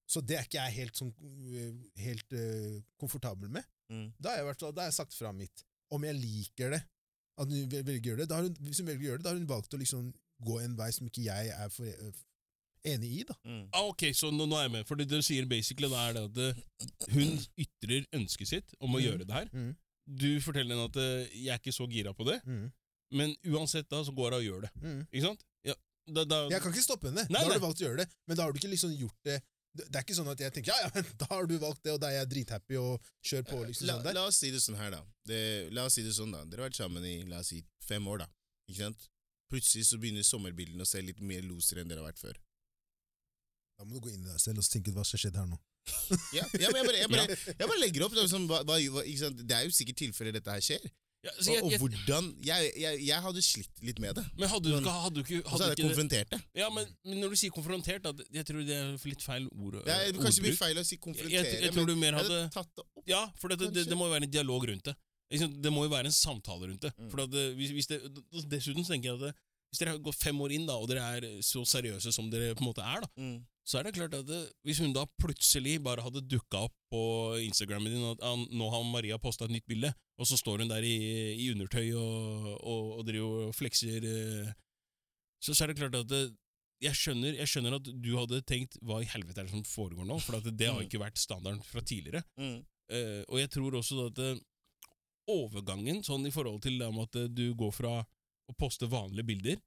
så det er ikke jeg helt, sånn, eh, helt eh, komfortabel med. Mm. Da, har jeg vært, da har jeg sagt fra mitt. Om jeg liker det, at hun vel- velger å gjøre det, da har hun, hvis hun velger å gjøre det, da har hun valgt å liksom gå en vei som ikke jeg er for, eh, enig i. da. Mm. Ah, ok, så nå, nå er jeg med. For det du sier basically da er det at eh, hun ytrer ønsket sitt om å Mhm. gjøre det her. Mhm. Du forteller henne at eh, 'jeg er ikke så gira på det', Mm. men uansett da så går hun og gjør det. Ikke sant? Ja, da, da, Mm. Jeg kan ikke stoppe henne. Nei, da har nei. du valgt å gjøre det, men da har du ikke liksom gjort det Det det er ikke sånn at jeg tenker ja, ja, men da har du valgt det, og da er jeg drithappy og kjør på. liksom Eh, La, sånn der. la oss si det sånn her, da. Det, la oss si det sånn da Dere har vært sammen i la oss si, fem år, da. Ikke sant? Plutselig så begynner sommerbildene å se litt mer losere enn dere har vært før. Da må du gå inn i deg selv og tenke hva som skjedde her nå. Ja, ja men jeg bare, jeg bare, jeg bare legger opp. Det er, liksom, hva, hva, ikke sant? det er jo sikkert tilfeller dette her skjer. ja, så Altså, jeg, og, og jeg, hvordan jeg, jeg, jeg hadde slitt litt med det. men hadde du ikke, hadde du ikke, Og så hadde er du ikke jeg det? konfrontert det. Ja, men, men når du sier konfrontert, da, det- jeg tror det er litt feil ord. Det er kanskje ordbruk. mye feil å si Jeg, konfrontere, jeg, jeg tror du mer men jeg hadde hadde tatt det opp. Ja, for det, det, Kanskje. det må jo være en dialog rundt det. Ikke sant? Det må jo være en samtale rundt det. Mm. For at, eh, hvis, hvis det dessuten så tenker jeg at det, hvis dere går fem år inn da, og dere er så seriøse som dere på en måte er, da, Mm. så er det klart at det, hvis hun da plutselig bare hadde dukka opp på Instagrammen din at han, nå har Maria posta et nytt bilde, og så står hun der i, i undertøy og, og, og driver og flekser eh, så, så er det klart at det, jeg, skjønner, jeg skjønner at du hadde tenkt hva i helvete er det som foregår nå, for at det har Mm. ikke vært standarden fra tidligere. Mm. Eh, og jeg tror også at eh, overgangen, sånn i forhold til det med at eh, du går fra å poste vanlige bilder,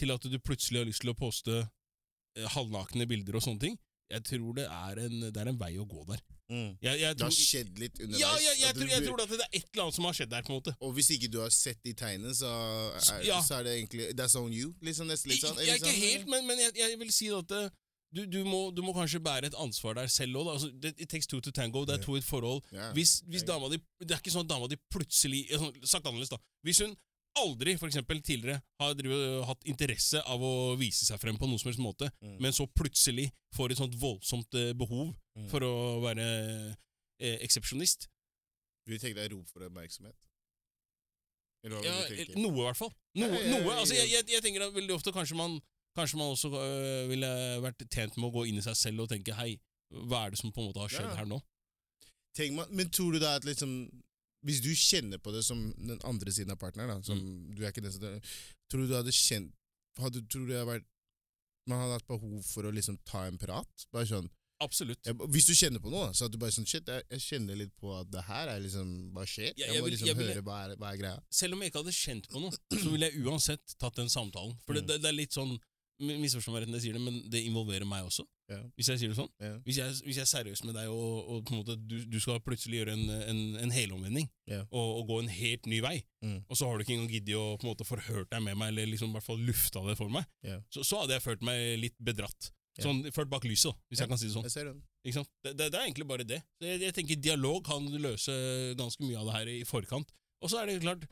til at du plutselig har lyst til å poste eh, halvnakne bilder og sånne ting, jeg tror det er en, det er en vei å gå der. Mm. Jeg, jeg Det har tror, skjedd litt underveis. ja, ja, jeg, At du- tror, jeg tror at det er et eller annet som har skjedd der, på en måte. Og hvis ikke du har sett de tegnene, så er, Ja. så er det egentlig That's on you. Liksom, nesten litt sånn. Jeg, jeg er liksom. ikke helt, men, men jeg, jeg vil si at eh, du, du, må, du må kanskje bære et ansvar der selv òg. Altså, det- it takes two to tango. Det er to i et forhold. Ja. Hvis, hvis dama di Det er ikke sånn at dama di plutselig eh, sånn, Sagt annerledes, da. Hvis hun aldri for eksempel, tidligere har drivet, øh, hatt interesse av å vise seg frem på noen som helst måte, Mm. men så plutselig får et sånt voldsomt eh, behov Mm. for å være eh, eksepsjonist Du tenker det er rop for oppmerksomhet? Eller hva ja, eh, vil du tenke? Noe, i hvert fall. Noe, Ja, ja, ja, noe, ja. altså jeg, jeg, jeg tenker at veldig ofte kanskje man Kanskje man også øh, ville vært tjent med å gå inn i seg selv og tenke Hei, hva er det som på en måte har skjedd Ja. her nå? Tenk man, men tror du da at liksom Hvis du kjenner på det som den andre siden av partneren, da, som Mm. du er ikke den som Tror du du hadde kjent hadde, Tror du det hadde vært man hadde hatt behov for å liksom ta en prat? Bare sånn, Absolutt. jeg, hvis du kjenner på noe, da, så at du bare sånn Shit, jeg, jeg kjenner litt på at det her er liksom Hva skjer? Ja, Jeg, jeg må vil- liksom jeg vil- høre hva er, hva er greia. Mm. Selv om jeg ikke hadde kjent på noe, så ville jeg uansett tatt den samtalen. For det, det, det er litt sånn m- misforstå meg rett når jeg sier det, men det involverer meg også. Ja. Hvis jeg sier det sånn. Ja. Hvis, jeg, hvis jeg er seriøs med deg, og, og på en måte du, du skal plutselig gjøre en, en, en helomvending Ja. og, og gå en helt ny vei, Mm. og så har du ikke engang giddet å på en måte forhørt deg med meg, eller liksom i hvert fall lufta det for meg, Ja. så, så hadde jeg følt meg litt bedratt. Ja. Sånn, Ført bak lyset, da, hvis Ja. jeg kan si det sånn. Jeg ser den. Ikke sant? Det, det, det er egentlig bare det. Så Jeg, jeg tenker Dialog kan løse ganske mye av det her i forkant. Og så er det klart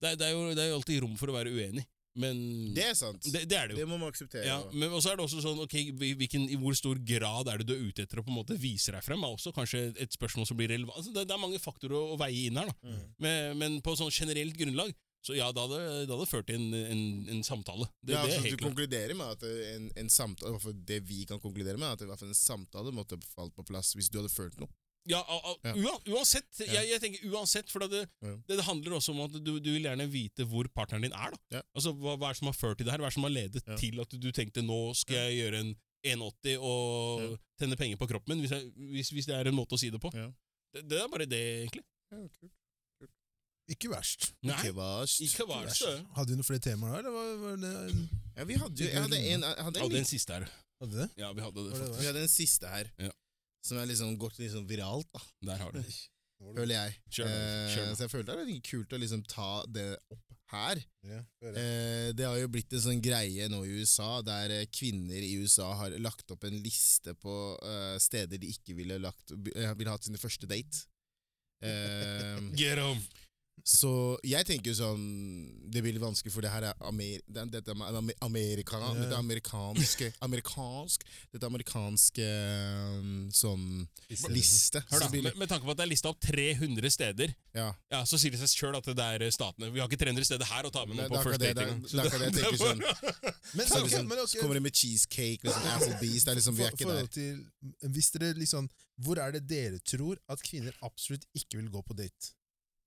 det, er- det, er jo, det er jo alltid rom for å være uenig, men Det er sant. det, det er det jo. Det må man akseptere. Ja, da. men også er det også sånn, ok, hvil- hvilken, I hvor stor grad er det du er ute etter å på en måte vise deg frem? er også kanskje et spørsmål som blir relevant. Altså, det, det er mange faktorer å, å veie inn her. da. Mm. Men, men på sånn generelt grunnlag, så ja, det hadde, det hadde ført til en, en, en samtale. Det, ja, det så er sånn du helt klart. konkluderer med at eh, en, en samtale, i hvert fall det vi kan konkludere med, er at i hvert fall en samtale måtte falt på plass hvis du hadde følt noe. Ja, a, a, Ja. ua- Uansett, Jeg, jeg tenker uansett, for det, Ja. det, det handler også om at du, du vil gjerne vite hvor partneren din er. da. Ja. Altså, hva, hva er det som har ført til det her? Hva er det som har ledet Ja. til at du tenkte nå skal jeg gjøre en 180 og Ja. tenne penger på kroppen min, hvis, jeg, hvis, hvis det er en måte å si det på? Ja. Det, det er bare det, egentlig. Ikke verst. Nei, Ikke verst. ikke hva er det. så- Hadde du noen flere temaer da, eller var, var det Ja, vi hadde jo jeg hadde en, jeg hadde Ja, en, den siste her. Hadde du det? Ja, vi hadde det. Var det faktisk. vi hadde en siste her, Ja. som er liksom gått litt sånn viralt, da, Der har du det. føler jeg. Kjør den, Eh, kjør den. så jeg følte det var litt kult å liksom ta det opp her. Ja, det var det. Eh, det har jo blitt en sånn greie nå i USA, der eh, kvinner i USA har lagt opp en liste på eh, steder de ikke ville, lagt, eh, ville hatt sine første date. Eh, Get 'em! Så jeg tenker jo sånn Det blir litt vanskelig, for det her er Amer det, dette er amer Amerika, Ja. dette er amerikanske Amerikansk Dette er amerikanske um, sånn liste. Hør da, Så det blir med, litt- med tanke på at det er lista opp 300 steder, ja. ja, så sier det seg sjøl at det er eh, statene. Vi har ikke 300 steder her å ta med noen Nei, det på er first akkurat det, date engang. det er- det er akkurat det jeg tenker sånn. Men, Så, ok, liksom, men ok, så kommer de med cheesecake, liksom, Applebee's Det er liksom, vi er for- ikke der. forhold til, hvis dere liksom, Hvor er det dere tror at kvinner absolutt ikke vil gå på date?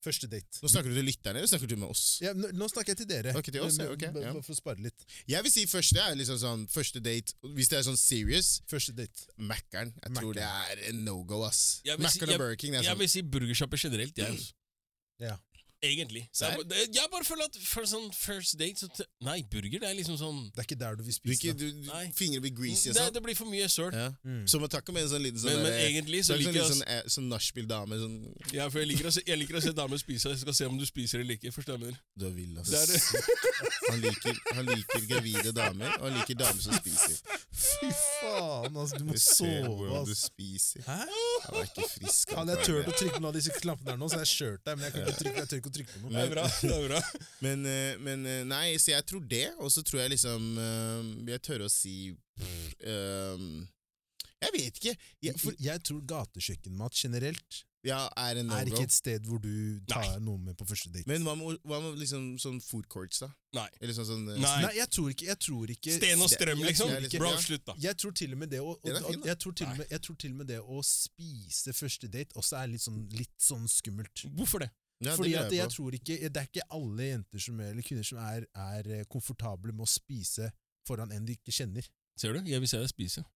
Første date. Nå snakker du til lytterne, eller snakker du med oss? Ja, nå, nå snakker jeg til dere, Ok, til oss, ja, ok, Men- ja. bare for å spare litt. Jeg vil si første er liksom sånn Første date, hvis det er sånn serious, Første date. Mackeren. Jeg tror det er en no-go, ass. Jeg vil si- Mackeren og Burger King, det er Jeg sånn Mm. vil si burgersjapper generelt, jeg. Altså. Ja. Egentlig. Så jeg, det- jeg bare føler at for sånn first date så t Nei, burger det er liksom sånn Det er ikke der du du, vil spise. ikke, da. du, du, Nei. Fingre blir greasy og det, sånn. det blir for mye søl. Ja. Mm. Så man tar ikke med en sånn liten sånn Men, men derre- egentlig Så så det er liker ikke jeg sånn, sånn, eh, sånn nachspiel-dame sånn ja, for jeg liker, å se, jeg liker å se damer spise, jeg skal se om du spiser eller ikke. Forstår du hva jeg mener? Du er vill, ass. Det er, Han, liker, han liker gravide damer, og han liker damer som spiser. Fy faen, altså! Du må Du ser sove, hvordan du altså. spiser. Hæ? Han er ikke frisk. Hadde jeg turt å trykke på noen av disse knappene her nå, så hadde jeg kjørt deg, men jeg, kan ikke trykke, jeg tør ikke å trykke på noe. det er bra. det er bra. Men, eh, men eh, nei, så jeg tror det, og så tror jeg liksom eh, Jeg tør å si pff, eh, Jeg vet ikke. Jeg, for, Jeg tror gatekjøkkenmat generelt ja, er en er no-go. ikke et sted hvor du tar noen med på første date. Men hva med, hva med liksom sånn food courts, da? Nei. Eller sånn sånn eh, Nei. Nei, jeg tror ikke, jeg tror ikke Sten og strøm, Jeg liksom. tror jeg liker- Bro, ja. slutt, da. Jeg tror til og med det å, og, Den er fin, da. jeg, tror til og med, jeg tror til og med det å spise første date også er litt sånn, litt sånn skummelt. Hvorfor det? ja, det Fordi lurer at jeg jeg på. tror ikke Det er ikke alle jenter som, eller kvinner som er, er eh, komfortable med å spise foran en de ikke kjenner. Ser du? Jeg vil se deg spise.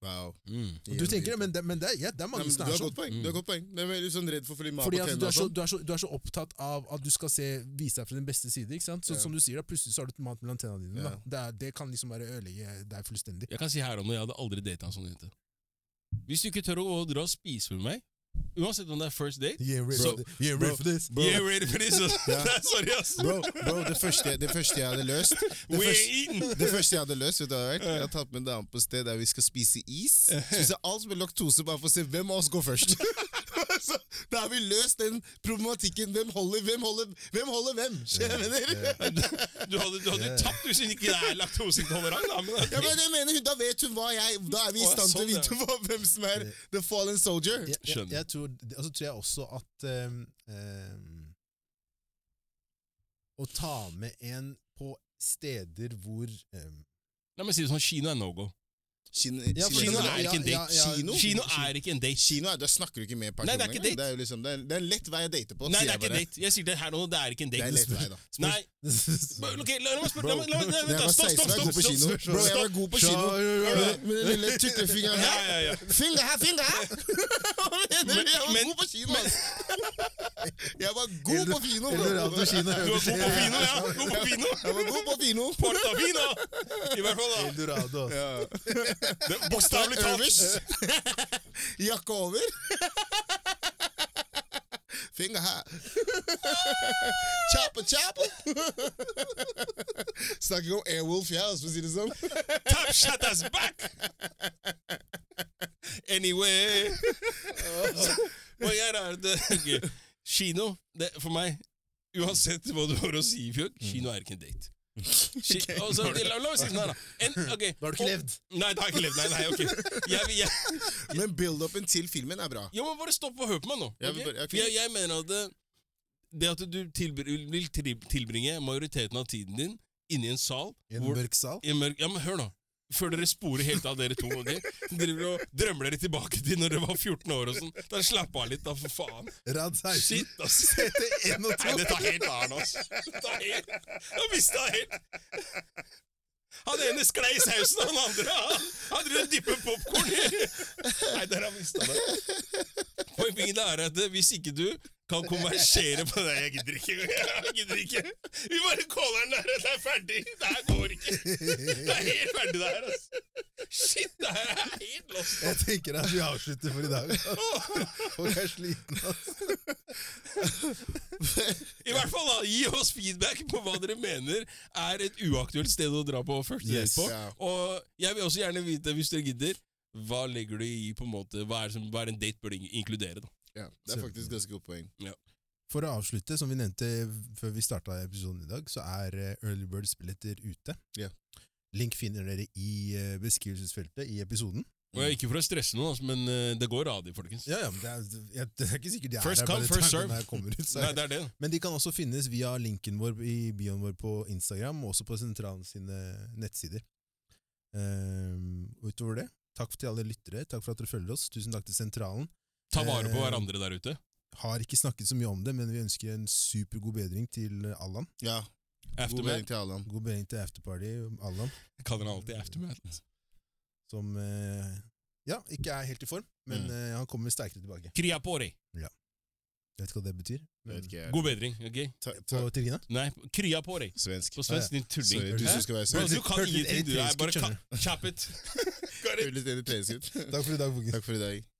Wow. Mm. Og du tenker det, men det, men det, er- ja, det er Nei, mange men Du som er har sånn. godt poeng. Du har godt poeng. Det er veldig sånn redd for å få litt mat på Fordi at du tennene er, og så, sånn. du, er så, du er så opptatt av at du skal se, vise deg fra din beste side. ikke sant? Så, Ja. Som du sier, da, plutselig så har du et mat mellom tennene dine. Ja. Da. Det, er, det kan liksom bare ødelegge deg fullstendig. Jeg kan si her og nå, jeg hadde aldri data en sånn jente. Hvis du ikke tør å dra og spise med meg, uansett om det er first date Yeah, ready, Bro, for thi- yeah, bro, ready for this. Yeah, ready for this! ass. Ja. Sorry, ass. Bro, bro det, første, det første jeg hadde løst We det første, ain't eaten! det første jeg hadde løst, vet du hva det har vært? Jeg har tatt med en dame på et sted der vi skal spise is. Spise alt med laktose, bare for å se hvem av oss går først. Så, da har vi løst den problematikken. Hvem holder hvem? holder Hvem holder hvem? Skjønner du hva jeg mener? Du hadde, du hadde tapt hvis hun ikke er laktoseintolerant. da, men- Ja, men jeg mener, hun- Da vet hun hva jeg Da er vi i Å, stand til å sånn, vite hva, hvem som er the fallen soldier. Jeg, jeg, Skjønner. jeg tror, og så tror jeg også at ehm, ehm, Å ta med en på steder hvor ehm, La meg si det sånn, Kino er no go. Kino, Ja, for Kino kino, eksempel- er ikke en ja, date. ja, ja. Kino, kino er ikke en date. kino er, Da snakker du ikke Nei, med personen det er ikke engang. date. Det er jo liksom, det er, det er en lett vei å date på. Nei, det sier er jeg ikke en bare. date. Jeg sier det her og nå, det er ikke en Det er en date. lett vei, da. Nei, men ok, la la meg spørre la meg- la meg- la meg- Da jeg vent da, var Stopp, 16 stopp, var stopp! jeg god på kino. stopp, Bro, stopp, jeg var stopp. god på kino. Ja, ja, ja. Med den- Med den lille tuttefingeren Ja, her. ja, ja. Finger her, finger her! Hva mener du? Jeg var Men- god på kino, altså. ass. Jeg var god på kino, bro. Eller Radio Kina. Du var god på vino, ja! God på vino! Jeg var god på kino. Portavino! I hvert fall, da. Eldorado. Ja. Det er Bokstavelig Øvers. talt. Jakke over. Finger her. Chopper, chopper. Snakker om Airwolf, jeg, altså, for å si det sånn. Tap shut us back! Anyway Og jeg er det ok. Kino, det, for meg Uansett hva du har å si, Fjord, Mm. kino er ikke en date. Ki- altså, la, la oss si det sånn her, da. En, ok. Da har du ikke levd. Nei, det har jeg ikke levd. Nei, nei, ok. Jeg, jeg, Men build-upen til filmen er bra. jeg må bare stoppe og høre på meg nå. ok? Ja, men bare- ok. For jeg, jeg mener at det, det at du tilbr vil tri- tilbringe majoriteten av tiden din inni en sal I en hvor- mørk sal. i en mørk, Ja, men hør nå. Før dere sporer helt av, dere to. ok? Driver og drømmer dere tilbake til når dere var 14 år og sånn. Da slapp av litt, da, for faen. Rad 16. Shit, ass. Etter en og Nei, to. det tar helt av nå, ass. Det tar helt. Jeg mista helt. Han ene sklei i sausen, han andre han, han driver og dypper popkorn i. Nei, dere har mista det. Poenget er at hvis ikke du kan konversere på det Jeg gidder ikke. Jeg gidder ikke. Vi bare caller den der. Det er ferdig. Det her går ikke. Det er helt ferdig, det her. ass. Shit, det her er helt lost. Jeg tenker at vi avslutter for i dag. Folk er slitne. ass. I hvert fall da, Gi oss feedback på hva dere mener er et uaktuelt sted å dra på første date Yes. på. Ja. Og jeg vil også gjerne vite, hvis dere gidder, hva legger du i på en måte, hva er det som hva er det en date bør in- inkludere? da? Ja, det er faktisk ganske godt poeng. For å avslutte, som vi nevnte før vi starta episoden i dag, så er eh, Early Birds-billetter ute. Ja. Link finner dere i eh, beskrivelsesfeltet i episoden. Og jeg, ikke for å stresse noen, altså, men eh, det går radig, folkens. Ja, ja, men det er, jeg, det er ikke sikkert de er First der come, by the first time den serve. her kommer ut. Så. Nei, det er det. Men de kan også finnes via linken vår i bioen vår på Instagram, og også på sentralen sine nettsider. Ehm, og utover det, takk til alle lyttere, takk for at dere følger oss, tusen takk til sentralen. Ta vare på Eh, hverandre der ute. Har ikke snakket så mye om det, men vi ønsker en supergod bedring til Allan. Ja, god melding Aftermath. til Alan. God bedring til afterparty, Allan. Jeg kaller den alltid Aftermath. som eh, ja, ikke er helt i form, men Mm. eh, han kommer sterkere tilbake. Kriapori. Jeg vet ikke hva det betyr. Jeg Men, vet ikke, jeg- God bedring. ok? Ta, ta, på Trine? Nei, Kriapori. svensk. På svensk, din tulling. Sorry, du Hæ? som skal være Bro, svensk. du kan Hørte litt ingenting, du er eritreisk ut, bare skjønner ka- Chap it. Høres litt irriterende ut. Takk for i dag, folkens. Takk for i dag.